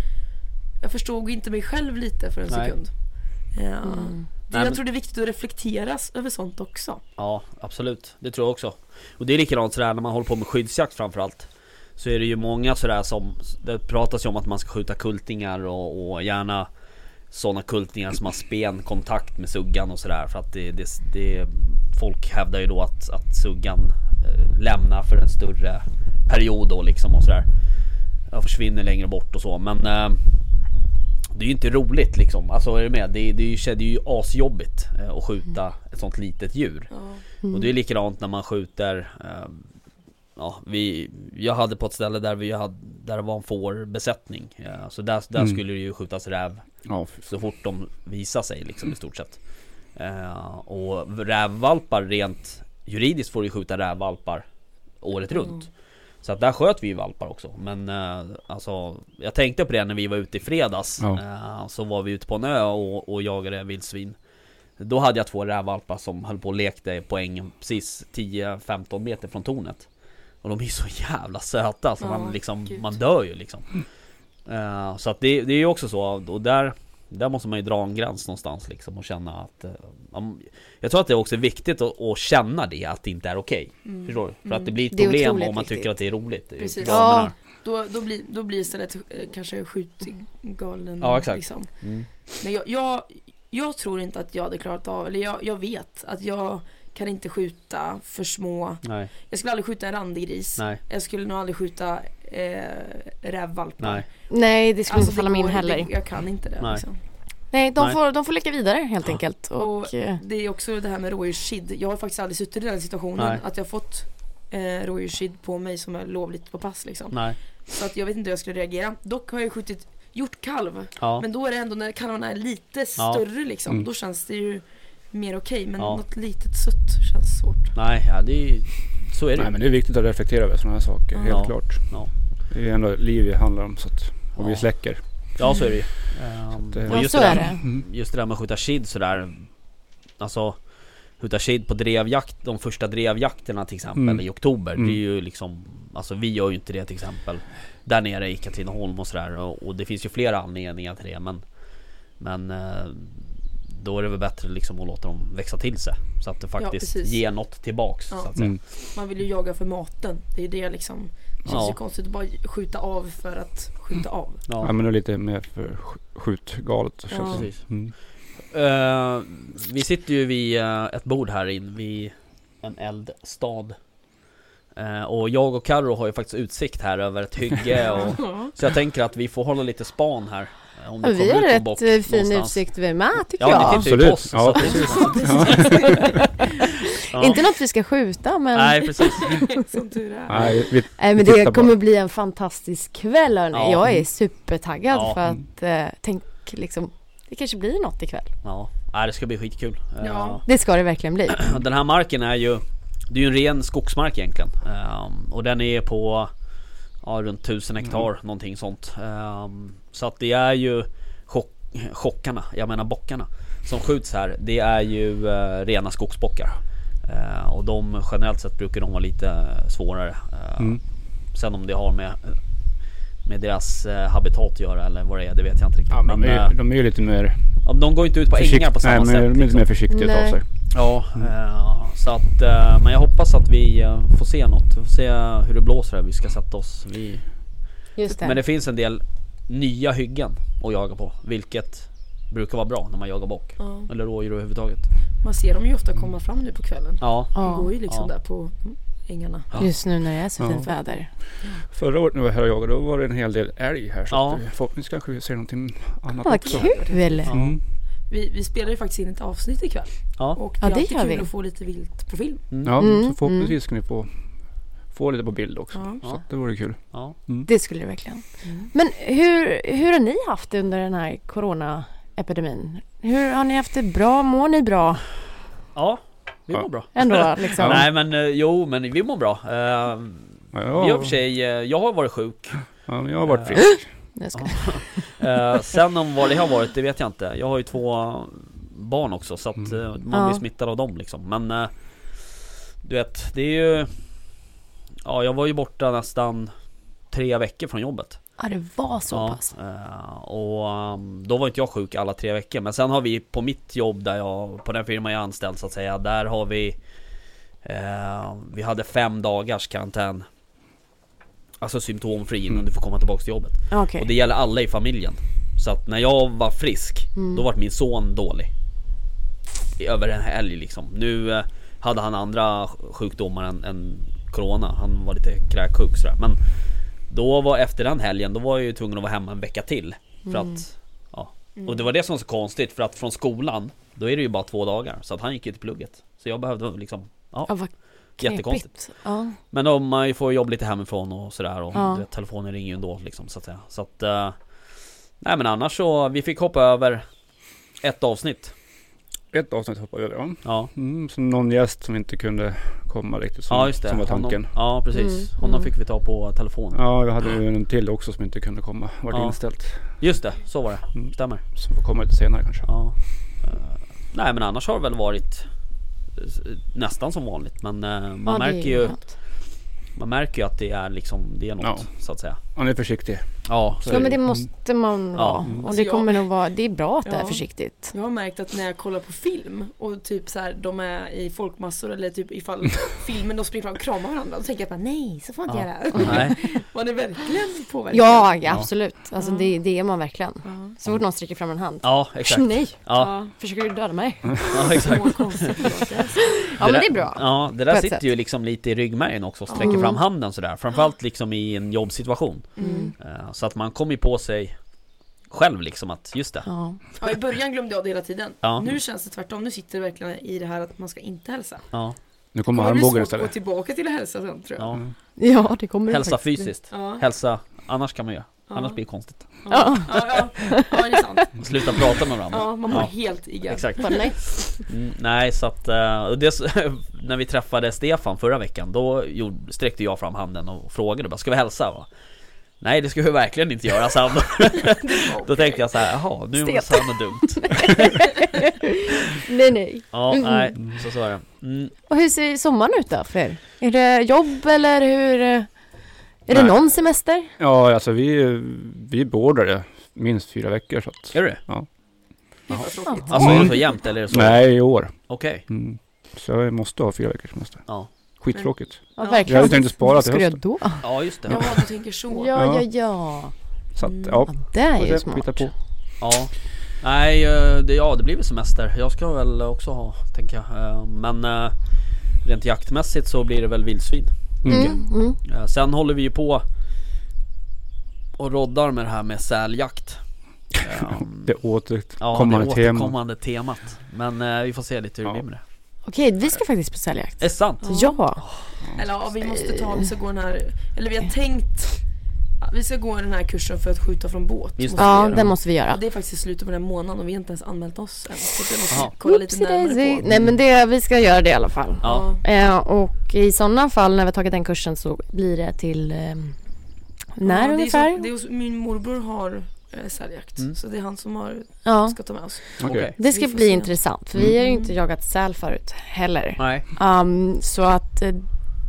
[SPEAKER 3] jag förstod inte mig själv lite för en
[SPEAKER 4] Nej.
[SPEAKER 3] sekund. Ja. Det,
[SPEAKER 4] Nej, men-
[SPEAKER 3] jag tror det är viktigt att reflekteras över sånt också.
[SPEAKER 4] Ja, absolut. Det tror jag också. Och det är likadant sådär när man håller på med skyddsjakt framförallt. Så är det ju många sådär som, det pratas ju om att man ska skjuta kultingar och, och gärna sådana kultingar som har spenkontakt med suggan och sådär för att det, det, det Folk hävdar ju då att, att suggan eh, lämnar för en större period då liksom och sådär Jag försvinner längre bort och så men eh, Det är ju inte roligt liksom, alltså är du med? Det, det, är, ju, det är ju asjobbigt eh, att skjuta ett sånt litet djur Och det är likadant när man skjuter eh, Ja, vi, jag hade på ett ställe där, vi hade, där det var en fårbesättning eh, Så där, där
[SPEAKER 5] Mm.
[SPEAKER 4] skulle det ju skjutas räv
[SPEAKER 7] Ja, fy-
[SPEAKER 4] så fort de visar sig liksom i stort sett. Eh, och rävvalpar rent juridiskt får du skjuta rävvalpar året runt. Så att där sköt vi ju valpar också. Men eh, alltså, jag tänkte på det när vi var ute i fredags.
[SPEAKER 7] Ja.
[SPEAKER 4] Eh, så var vi ute på en ö och, och jagade vildsvin. Då hade jag två rävvalpar som höll på och lekte på ängen precis 10-15 meter från tornet. Och de är ju så jävla söta så
[SPEAKER 3] Ja,
[SPEAKER 4] man liksom,
[SPEAKER 3] gud.
[SPEAKER 4] man dör ju liksom. Eh, så att det, det är ju också så och där där måste man ju dra en gräns någonstans liksom och känna att eh, om- Jag tror att det också är viktigt att, att känna det att det inte är okej Förstår du? För att det blir ett
[SPEAKER 2] Mm. Det är
[SPEAKER 4] problem om
[SPEAKER 2] otroligt
[SPEAKER 4] man tycker
[SPEAKER 2] viktigt.
[SPEAKER 4] att det är roligt Det är ju
[SPEAKER 3] Precis.
[SPEAKER 4] bra med det här.
[SPEAKER 3] Då, då, blir, då blir istället eh, kanske skjutgalen
[SPEAKER 4] Ja, exakt.
[SPEAKER 3] liksom.
[SPEAKER 4] Mm.
[SPEAKER 3] Men jag, jag, jag tror inte att jag hade klarat av, eller jag, jag vet att jag kan inte skjuta för små
[SPEAKER 4] Nej,
[SPEAKER 3] Jag skulle aldrig skjuta en randig
[SPEAKER 4] nej,
[SPEAKER 3] Jag skulle nog aldrig skjuta eh, rävvalpar
[SPEAKER 4] nej
[SPEAKER 2] Nej, det skulle
[SPEAKER 3] Alltså,
[SPEAKER 2] inte falla mig in
[SPEAKER 3] går-
[SPEAKER 2] heller.
[SPEAKER 3] det- Jag kan inte det
[SPEAKER 4] Nej.
[SPEAKER 3] liksom.
[SPEAKER 2] Nej, de,
[SPEAKER 4] Nej.
[SPEAKER 2] Får, de får leka vidare helt enkelt. Och,
[SPEAKER 3] Och-
[SPEAKER 2] eh,
[SPEAKER 3] Det är också det här med rådjursskydd. Jag har faktiskt aldrig suttit i den situationen
[SPEAKER 4] Nej.
[SPEAKER 3] att jag fått eh, rådjursskydd på mig som är lovligt på pass liksom.
[SPEAKER 4] nej
[SPEAKER 3] Så att jag vet inte hur jag skulle reagera. Dock har jag skjutit hjortkalv.
[SPEAKER 4] Ja,
[SPEAKER 3] Men då är det ändå när kalvarna är lite större liksom.
[SPEAKER 5] Mm.
[SPEAKER 3] Då känns det ju mer okej. Men
[SPEAKER 4] Ja.
[SPEAKER 3] något litet sutt känns svårt.
[SPEAKER 4] nej, ja, det är ju Så är det
[SPEAKER 5] Nej
[SPEAKER 4] ju
[SPEAKER 5] men det är viktigt att reflektera över sådana här saker, helt
[SPEAKER 4] Ja.
[SPEAKER 5] klart.
[SPEAKER 4] Ja.
[SPEAKER 5] Det är ändå liv det handlar om så att, och vi
[SPEAKER 4] Ja.
[SPEAKER 5] släcker.
[SPEAKER 4] Ja så är det ju Ehm,
[SPEAKER 5] Så att, eh,
[SPEAKER 4] och
[SPEAKER 2] ja,
[SPEAKER 4] just
[SPEAKER 2] så
[SPEAKER 4] det där-
[SPEAKER 2] är det.
[SPEAKER 4] just det där med att skjuta kid sådär Alltså Skjuta kid på drevjakt, de första drevjakterna till exempel
[SPEAKER 5] Mm.
[SPEAKER 4] i oktober
[SPEAKER 5] Mm.
[SPEAKER 4] Det är ju liksom Alltså vi gör ju inte det till exempel Där nere i Katrineholm och sådär och, och det finns ju flera anledningar till det men Men eh, Då är det väl bättre liksom att låta dem växa till sig Så att det faktiskt
[SPEAKER 3] precis.
[SPEAKER 4] ger något tillbaks
[SPEAKER 3] Ja.
[SPEAKER 4] så att säga
[SPEAKER 5] Mm.
[SPEAKER 3] Man vill ju jaga för maten. Det är ju det liksom. Det känns
[SPEAKER 4] Ja.
[SPEAKER 3] ju konstigt att bara skjuta av för att skjuta av.
[SPEAKER 5] Ja.
[SPEAKER 4] ja.
[SPEAKER 5] men det är lite mer för sk- skjutgalet. känns det som.
[SPEAKER 4] Precis.
[SPEAKER 5] Mm.
[SPEAKER 4] Eh, vi sitter ju vid eh, ett bord här in vid en eldstad. Eh, och jag och Karo har ju faktiskt utsikt här över ett hygge och, Så jag tänker att vi får hålla lite span här eh, om
[SPEAKER 2] Ja,
[SPEAKER 4] det
[SPEAKER 2] vi
[SPEAKER 4] kommer
[SPEAKER 2] har
[SPEAKER 4] ut någon
[SPEAKER 2] rätt
[SPEAKER 4] bock
[SPEAKER 2] eh, fin
[SPEAKER 4] någonstans.
[SPEAKER 2] utsikt vi med tycker
[SPEAKER 4] Ja, ni
[SPEAKER 2] jag.
[SPEAKER 4] tittar ju på oss
[SPEAKER 5] Absolut. Ja,
[SPEAKER 4] så att- Ja.
[SPEAKER 2] Inte något vi ska skjuta men...
[SPEAKER 4] Nej precis,
[SPEAKER 3] Som tur är.
[SPEAKER 5] Nej, vi,
[SPEAKER 2] Nej men
[SPEAKER 5] Vi tittar
[SPEAKER 2] det kommer
[SPEAKER 5] bara.
[SPEAKER 2] bli en fantastisk kväll hörni.
[SPEAKER 4] Ja.
[SPEAKER 2] Jag är supertaggad
[SPEAKER 4] Ja. Mm.
[SPEAKER 2] för att eh, tänk liksom det kanske blir något ikväll.
[SPEAKER 4] ja, nej, det ska bli skitkul Eh,
[SPEAKER 3] Ja.
[SPEAKER 2] Det ska det verkligen bli.
[SPEAKER 4] Den här marken är ju Det är ju en ren skogsmark egentligen Ehm, Och den är på Ja runt 1000
[SPEAKER 5] Mm.
[SPEAKER 4] hektar någonting sånt Ehm, Så att det är ju chock, Chockarna, jag menar bockarna Som skjuts här Det är ju eh, rena skogsbockar Ehm, Och de generellt sett brukar de vara lite svårare Ehm,
[SPEAKER 5] Mm.
[SPEAKER 4] Sen om det har med Med deras eh, habitat att göra eller vad det är det vet jag inte riktigt
[SPEAKER 5] ja, men de,
[SPEAKER 4] eh,
[SPEAKER 5] är, ju- de är ju lite mer
[SPEAKER 4] ja, de går ju inte ut på
[SPEAKER 5] försikt-
[SPEAKER 4] ängar på samma
[SPEAKER 5] Nej, men
[SPEAKER 4] sätt
[SPEAKER 5] de är lite
[SPEAKER 4] liksom.
[SPEAKER 5] mer försiktiga av
[SPEAKER 2] Nej.
[SPEAKER 5] sig.
[SPEAKER 4] Ja, eh, så att, eh, men jag hoppas att vi eh, får se något. Vi får se hur det blåser här. Vi ska sätta oss. Vi...
[SPEAKER 2] Just det.
[SPEAKER 4] Men det finns en del nya hyggen att jaga på, vilket brukar vara bra när man jagar bock.
[SPEAKER 3] Ja.
[SPEAKER 4] Eller rådjur överhuvudtaget.
[SPEAKER 3] Man ser dem ju ofta komma fram nu på kvällen.
[SPEAKER 4] Ja,
[SPEAKER 3] De
[SPEAKER 2] ja.
[SPEAKER 3] går ju liksom
[SPEAKER 4] Ja.
[SPEAKER 3] där på ängarna.
[SPEAKER 4] Ja.
[SPEAKER 2] Just nu när det är så
[SPEAKER 5] Ja.
[SPEAKER 2] fint väder.
[SPEAKER 5] Förra året när vi var här och jagade, då var det en hel del älg här. Så
[SPEAKER 4] Ja.
[SPEAKER 5] att, eh, förhoppningsvis kanske vi ser någonting annat
[SPEAKER 2] Vad
[SPEAKER 5] också.
[SPEAKER 2] kul!
[SPEAKER 4] Ja.
[SPEAKER 5] Mm.
[SPEAKER 3] Vi, vi spelar ju faktiskt in ett avsnitt ikväll.
[SPEAKER 4] Ja.
[SPEAKER 3] Och
[SPEAKER 2] Ja,
[SPEAKER 3] det
[SPEAKER 2] det
[SPEAKER 3] är alltid
[SPEAKER 2] gör
[SPEAKER 3] kul
[SPEAKER 2] vi.
[SPEAKER 3] att få lite vilt på film.
[SPEAKER 5] Ja,
[SPEAKER 2] Mm,
[SPEAKER 5] så förhoppningsvis ska ni få, få lite på bild också.
[SPEAKER 3] Ja.
[SPEAKER 5] Så att det vore kul.
[SPEAKER 4] ja.
[SPEAKER 2] Det skulle det verkligen.
[SPEAKER 3] Mm.
[SPEAKER 2] Men hur, hur har ni haft det under den här coronaepidemin? Hur har ni haft det bra? Mår ni bra
[SPEAKER 4] ja vi
[SPEAKER 5] Ja.
[SPEAKER 4] mår bra.
[SPEAKER 2] ändå liksom?
[SPEAKER 4] Nej men eh, jo, men vi mår bra. Eh,
[SPEAKER 5] Ja,
[SPEAKER 4] Vi har i och för sig, eh, jag har varit sjuk.
[SPEAKER 5] ja, jag har varit
[SPEAKER 4] Eh,
[SPEAKER 5] frisk.
[SPEAKER 2] Nu ska
[SPEAKER 4] Ja. Eh, sen om vad det har varit, det vet jag inte. Jag har ju två barn också så att
[SPEAKER 5] Mm.
[SPEAKER 4] eh, man
[SPEAKER 2] Ja.
[SPEAKER 4] blir smittad av dem liksom. Men eh, du vet, det är ju... Ja, jag var ju borta nästan tre veckor från jobbet.
[SPEAKER 2] Ja, det var så
[SPEAKER 4] ja,
[SPEAKER 2] pass.
[SPEAKER 4] eh, och ehm, då var inte jag sjuk alla tre veckor. Men sen har vi på mitt jobb där jag, på den firma jag är anställd så att säga, där har vi... Eh, vi hade fem dagars karantän. Alltså symptomfri innan
[SPEAKER 5] Mm.
[SPEAKER 4] du får komma tillbaka till jobbet.
[SPEAKER 2] Okej.
[SPEAKER 4] Och det gäller alla i familjen. Så att när jag var frisk,
[SPEAKER 2] Mm.
[SPEAKER 4] då var min son dålig. I Över en helg liksom. Nu eh, hade han andra sjukdomar än, än Corona. Han var lite kräksjuk sådär. Men då var efter den helgen, då var jag ju tvungen att vara hemma en vecka till. För
[SPEAKER 2] Mm.
[SPEAKER 4] att, ja. Och det var det som var så konstigt, för att från skolan, då är det ju bara två dagar. Så att han gick ju till plugget. Så jag behövde liksom, ja.
[SPEAKER 2] Ja, vad
[SPEAKER 4] Jättekonstigt.
[SPEAKER 2] knepigt. Ja.
[SPEAKER 4] Men om man får jobb lite hemifrån och sådär och
[SPEAKER 2] Ja.
[SPEAKER 4] du vet, telefonen ringer ju ändå liksom så att säga. Så att... eh, nej men annars så, vi fick hoppa över ett avsnitt.
[SPEAKER 5] Ett avsnitt hoppade jag över. ja.
[SPEAKER 4] Ja,
[SPEAKER 5] Mm, så någon gäst som inte kunde komma riktigt som,
[SPEAKER 4] ja just det.
[SPEAKER 5] som var tanken.
[SPEAKER 4] Honom, ja precis.
[SPEAKER 2] Mm.
[SPEAKER 4] Honom fick vi ta på telefonen.
[SPEAKER 5] Ja, jag hade ju en till också som inte kunde komma. Vart
[SPEAKER 4] Ja.
[SPEAKER 5] inställt.
[SPEAKER 4] Just det, så var det.
[SPEAKER 5] Mm.
[SPEAKER 4] Stämmer.
[SPEAKER 5] Som får komma lite senare kanske.
[SPEAKER 4] Ja. Eh, nej men annars har det väl varit eh, nästan som vanligt men eh, man,
[SPEAKER 2] Ja, det är
[SPEAKER 4] märker ju,
[SPEAKER 2] skönt.
[SPEAKER 4] man märker ju att det är liksom, det är något
[SPEAKER 5] Ja.
[SPEAKER 4] så att säga.
[SPEAKER 5] Han är försiktig.
[SPEAKER 4] Ja,
[SPEAKER 5] Så
[SPEAKER 2] Ja
[SPEAKER 5] är
[SPEAKER 2] men det måste man vara.
[SPEAKER 4] mm.
[SPEAKER 2] Och
[SPEAKER 3] Alltså,
[SPEAKER 2] det
[SPEAKER 3] jag-
[SPEAKER 2] kommer nog vara, det är bra att det är
[SPEAKER 3] Ja.
[SPEAKER 2] försiktigt.
[SPEAKER 3] Jag har märkt att när jag kollar på film och typ så här, de är i folkmassor eller typ ifall filmen de springer fram och kramar varandra. Då tänker jag bara nej, så får man inte göra.
[SPEAKER 4] nej.
[SPEAKER 3] Man är verkligen påverkad.
[SPEAKER 2] Ja, ja absolut. Alltså
[SPEAKER 3] Ja.
[SPEAKER 2] det, det är man verkligen. Så fort någon sträcker fram en hand.
[SPEAKER 4] ja exakt. Mm.
[SPEAKER 2] Nej,
[SPEAKER 4] Ja,
[SPEAKER 2] försöker du döda mig?
[SPEAKER 4] ja exakt.
[SPEAKER 3] Vad konstigt det låter.
[SPEAKER 2] Ja men
[SPEAKER 4] där-
[SPEAKER 2] det är bra.
[SPEAKER 4] Ja, det
[SPEAKER 2] På
[SPEAKER 4] där
[SPEAKER 2] ett
[SPEAKER 4] sitter
[SPEAKER 2] sätt.
[SPEAKER 4] ju liksom lite i ryggmärgen också och sträcker
[SPEAKER 2] Mm.
[SPEAKER 4] fram handen sådär. Framförallt liksom i en jobbsituation.
[SPEAKER 3] Mm.
[SPEAKER 4] Eh, Så att man kommer ju på sig själv liksom att, just det.
[SPEAKER 2] Ja.
[SPEAKER 3] Ja, I början glömde jag det hela tiden.
[SPEAKER 4] Ja.
[SPEAKER 3] Nu känns det tvärtom. Nu sitter det verkligen i det här att man ska inte hälsa.
[SPEAKER 4] Ja,
[SPEAKER 5] Nu kommer
[SPEAKER 3] det bli svårt
[SPEAKER 5] armbågen
[SPEAKER 3] att gå
[SPEAKER 5] istället.
[SPEAKER 3] tillbaka till att hälsa sen tror jag.
[SPEAKER 4] ja.
[SPEAKER 2] ja, det kommer Mm. det
[SPEAKER 4] Hälsa
[SPEAKER 2] faktiskt bli.
[SPEAKER 4] fysiskt.
[SPEAKER 3] Ja.
[SPEAKER 4] Hälsa, annars kan man göra.
[SPEAKER 3] Ja.
[SPEAKER 4] Annars blir det konstigt.
[SPEAKER 3] Ja, ja, ja, ja, det är sant.
[SPEAKER 4] Sluta prata med varandra.
[SPEAKER 3] Ja, man mår
[SPEAKER 4] Ja.
[SPEAKER 3] helt igga.
[SPEAKER 4] Exakt.
[SPEAKER 2] Bara, nej.
[SPEAKER 4] Mm, nej, så att eh, och det, när vi träffade Stefan förra veckan då gjorde, sträckte jag fram handen och frågade bara, ska vi hälsa? Va? Nej, det ska vi verkligen inte göra, sa han. Då tänkte jag så här, jaha, nu sa han något dumt.
[SPEAKER 2] nej, nej.
[SPEAKER 4] Ja, nej, så så är det. Mm.
[SPEAKER 2] Och hur ser sommaren ut då för er? Är det jobb eller hur? eh, Är det
[SPEAKER 5] Nej.
[SPEAKER 2] någon semester?
[SPEAKER 5] Ja, alltså vi, vi beordrar det minst fyra veckor. Så att,
[SPEAKER 4] Gör du det?
[SPEAKER 2] Ja.
[SPEAKER 4] Alltså är det så jämnt eller är det så?
[SPEAKER 5] nej, i år.
[SPEAKER 4] Okej.
[SPEAKER 5] Mm. Så jag måste ha fyra veckors semester.
[SPEAKER 4] Ja.
[SPEAKER 5] Skittråkigt.
[SPEAKER 2] Ja,
[SPEAKER 5] Jag
[SPEAKER 2] verkligen.
[SPEAKER 5] hade tänkt att spara
[SPEAKER 2] Vad
[SPEAKER 5] till
[SPEAKER 2] ska du göra
[SPEAKER 5] hösten.
[SPEAKER 2] då?
[SPEAKER 4] Ja just det. Ja.
[SPEAKER 3] Ja, du tänker så.
[SPEAKER 2] Ja, ja, ja.
[SPEAKER 4] Mm.
[SPEAKER 5] Så att,
[SPEAKER 2] ja
[SPEAKER 5] ja.
[SPEAKER 2] Mm. det är ju
[SPEAKER 5] Får se,
[SPEAKER 2] smart.
[SPEAKER 5] hitta på.
[SPEAKER 4] Nej, eh, det, ja det blir väl semester. Jag ska väl också ha, tänker jag. Eh, Men eh, rent jaktmässigt så blir det väl vildsvin.
[SPEAKER 5] Mm.
[SPEAKER 2] Mm, mm.
[SPEAKER 4] Eh, Sen håller vi ju på och roddar med det här med säljakt. Eh,
[SPEAKER 5] Det
[SPEAKER 4] Ja,
[SPEAKER 5] återkommande
[SPEAKER 4] det
[SPEAKER 5] tema.
[SPEAKER 4] återkommande temat. Men eh, vi får se lite hur det
[SPEAKER 5] Ja.
[SPEAKER 4] blir med det.
[SPEAKER 2] Okej, vi ska faktiskt på säljakt.
[SPEAKER 4] Är det sant?
[SPEAKER 2] Ja.
[SPEAKER 3] Eller ja, vi måste ta, vi ska gå den här, eller vi har tänkt, ja, vi ska gå den här kursen för att skjuta från båt.
[SPEAKER 4] Just
[SPEAKER 3] Måste vi
[SPEAKER 2] Ja,
[SPEAKER 3] göra.
[SPEAKER 2] den måste vi göra.
[SPEAKER 3] Och det är faktiskt i slutet på den här månaden och vi har inte ens anmält oss än. Så det måste
[SPEAKER 4] Aha.
[SPEAKER 3] vi kolla lite närmare på.
[SPEAKER 2] Nej men det, vi ska göra det i alla fall.
[SPEAKER 4] Ja.
[SPEAKER 2] Eh, och i sådana fall när vi har tagit den kursen så blir det till eh, när
[SPEAKER 3] Ja, det är så-
[SPEAKER 2] ungefär?
[SPEAKER 3] det är hos, min morbror har eh, säljakt.
[SPEAKER 5] Mm.
[SPEAKER 3] Så det är han som har,
[SPEAKER 2] ja.
[SPEAKER 3] ska ta med oss.
[SPEAKER 5] Okej.
[SPEAKER 4] Okej.
[SPEAKER 2] Det ska
[SPEAKER 3] vi får
[SPEAKER 2] bli
[SPEAKER 3] se. Mm.
[SPEAKER 2] intressant för vi har ju inte jagat säl förut heller.
[SPEAKER 4] Nej.
[SPEAKER 2] Um, så att eh,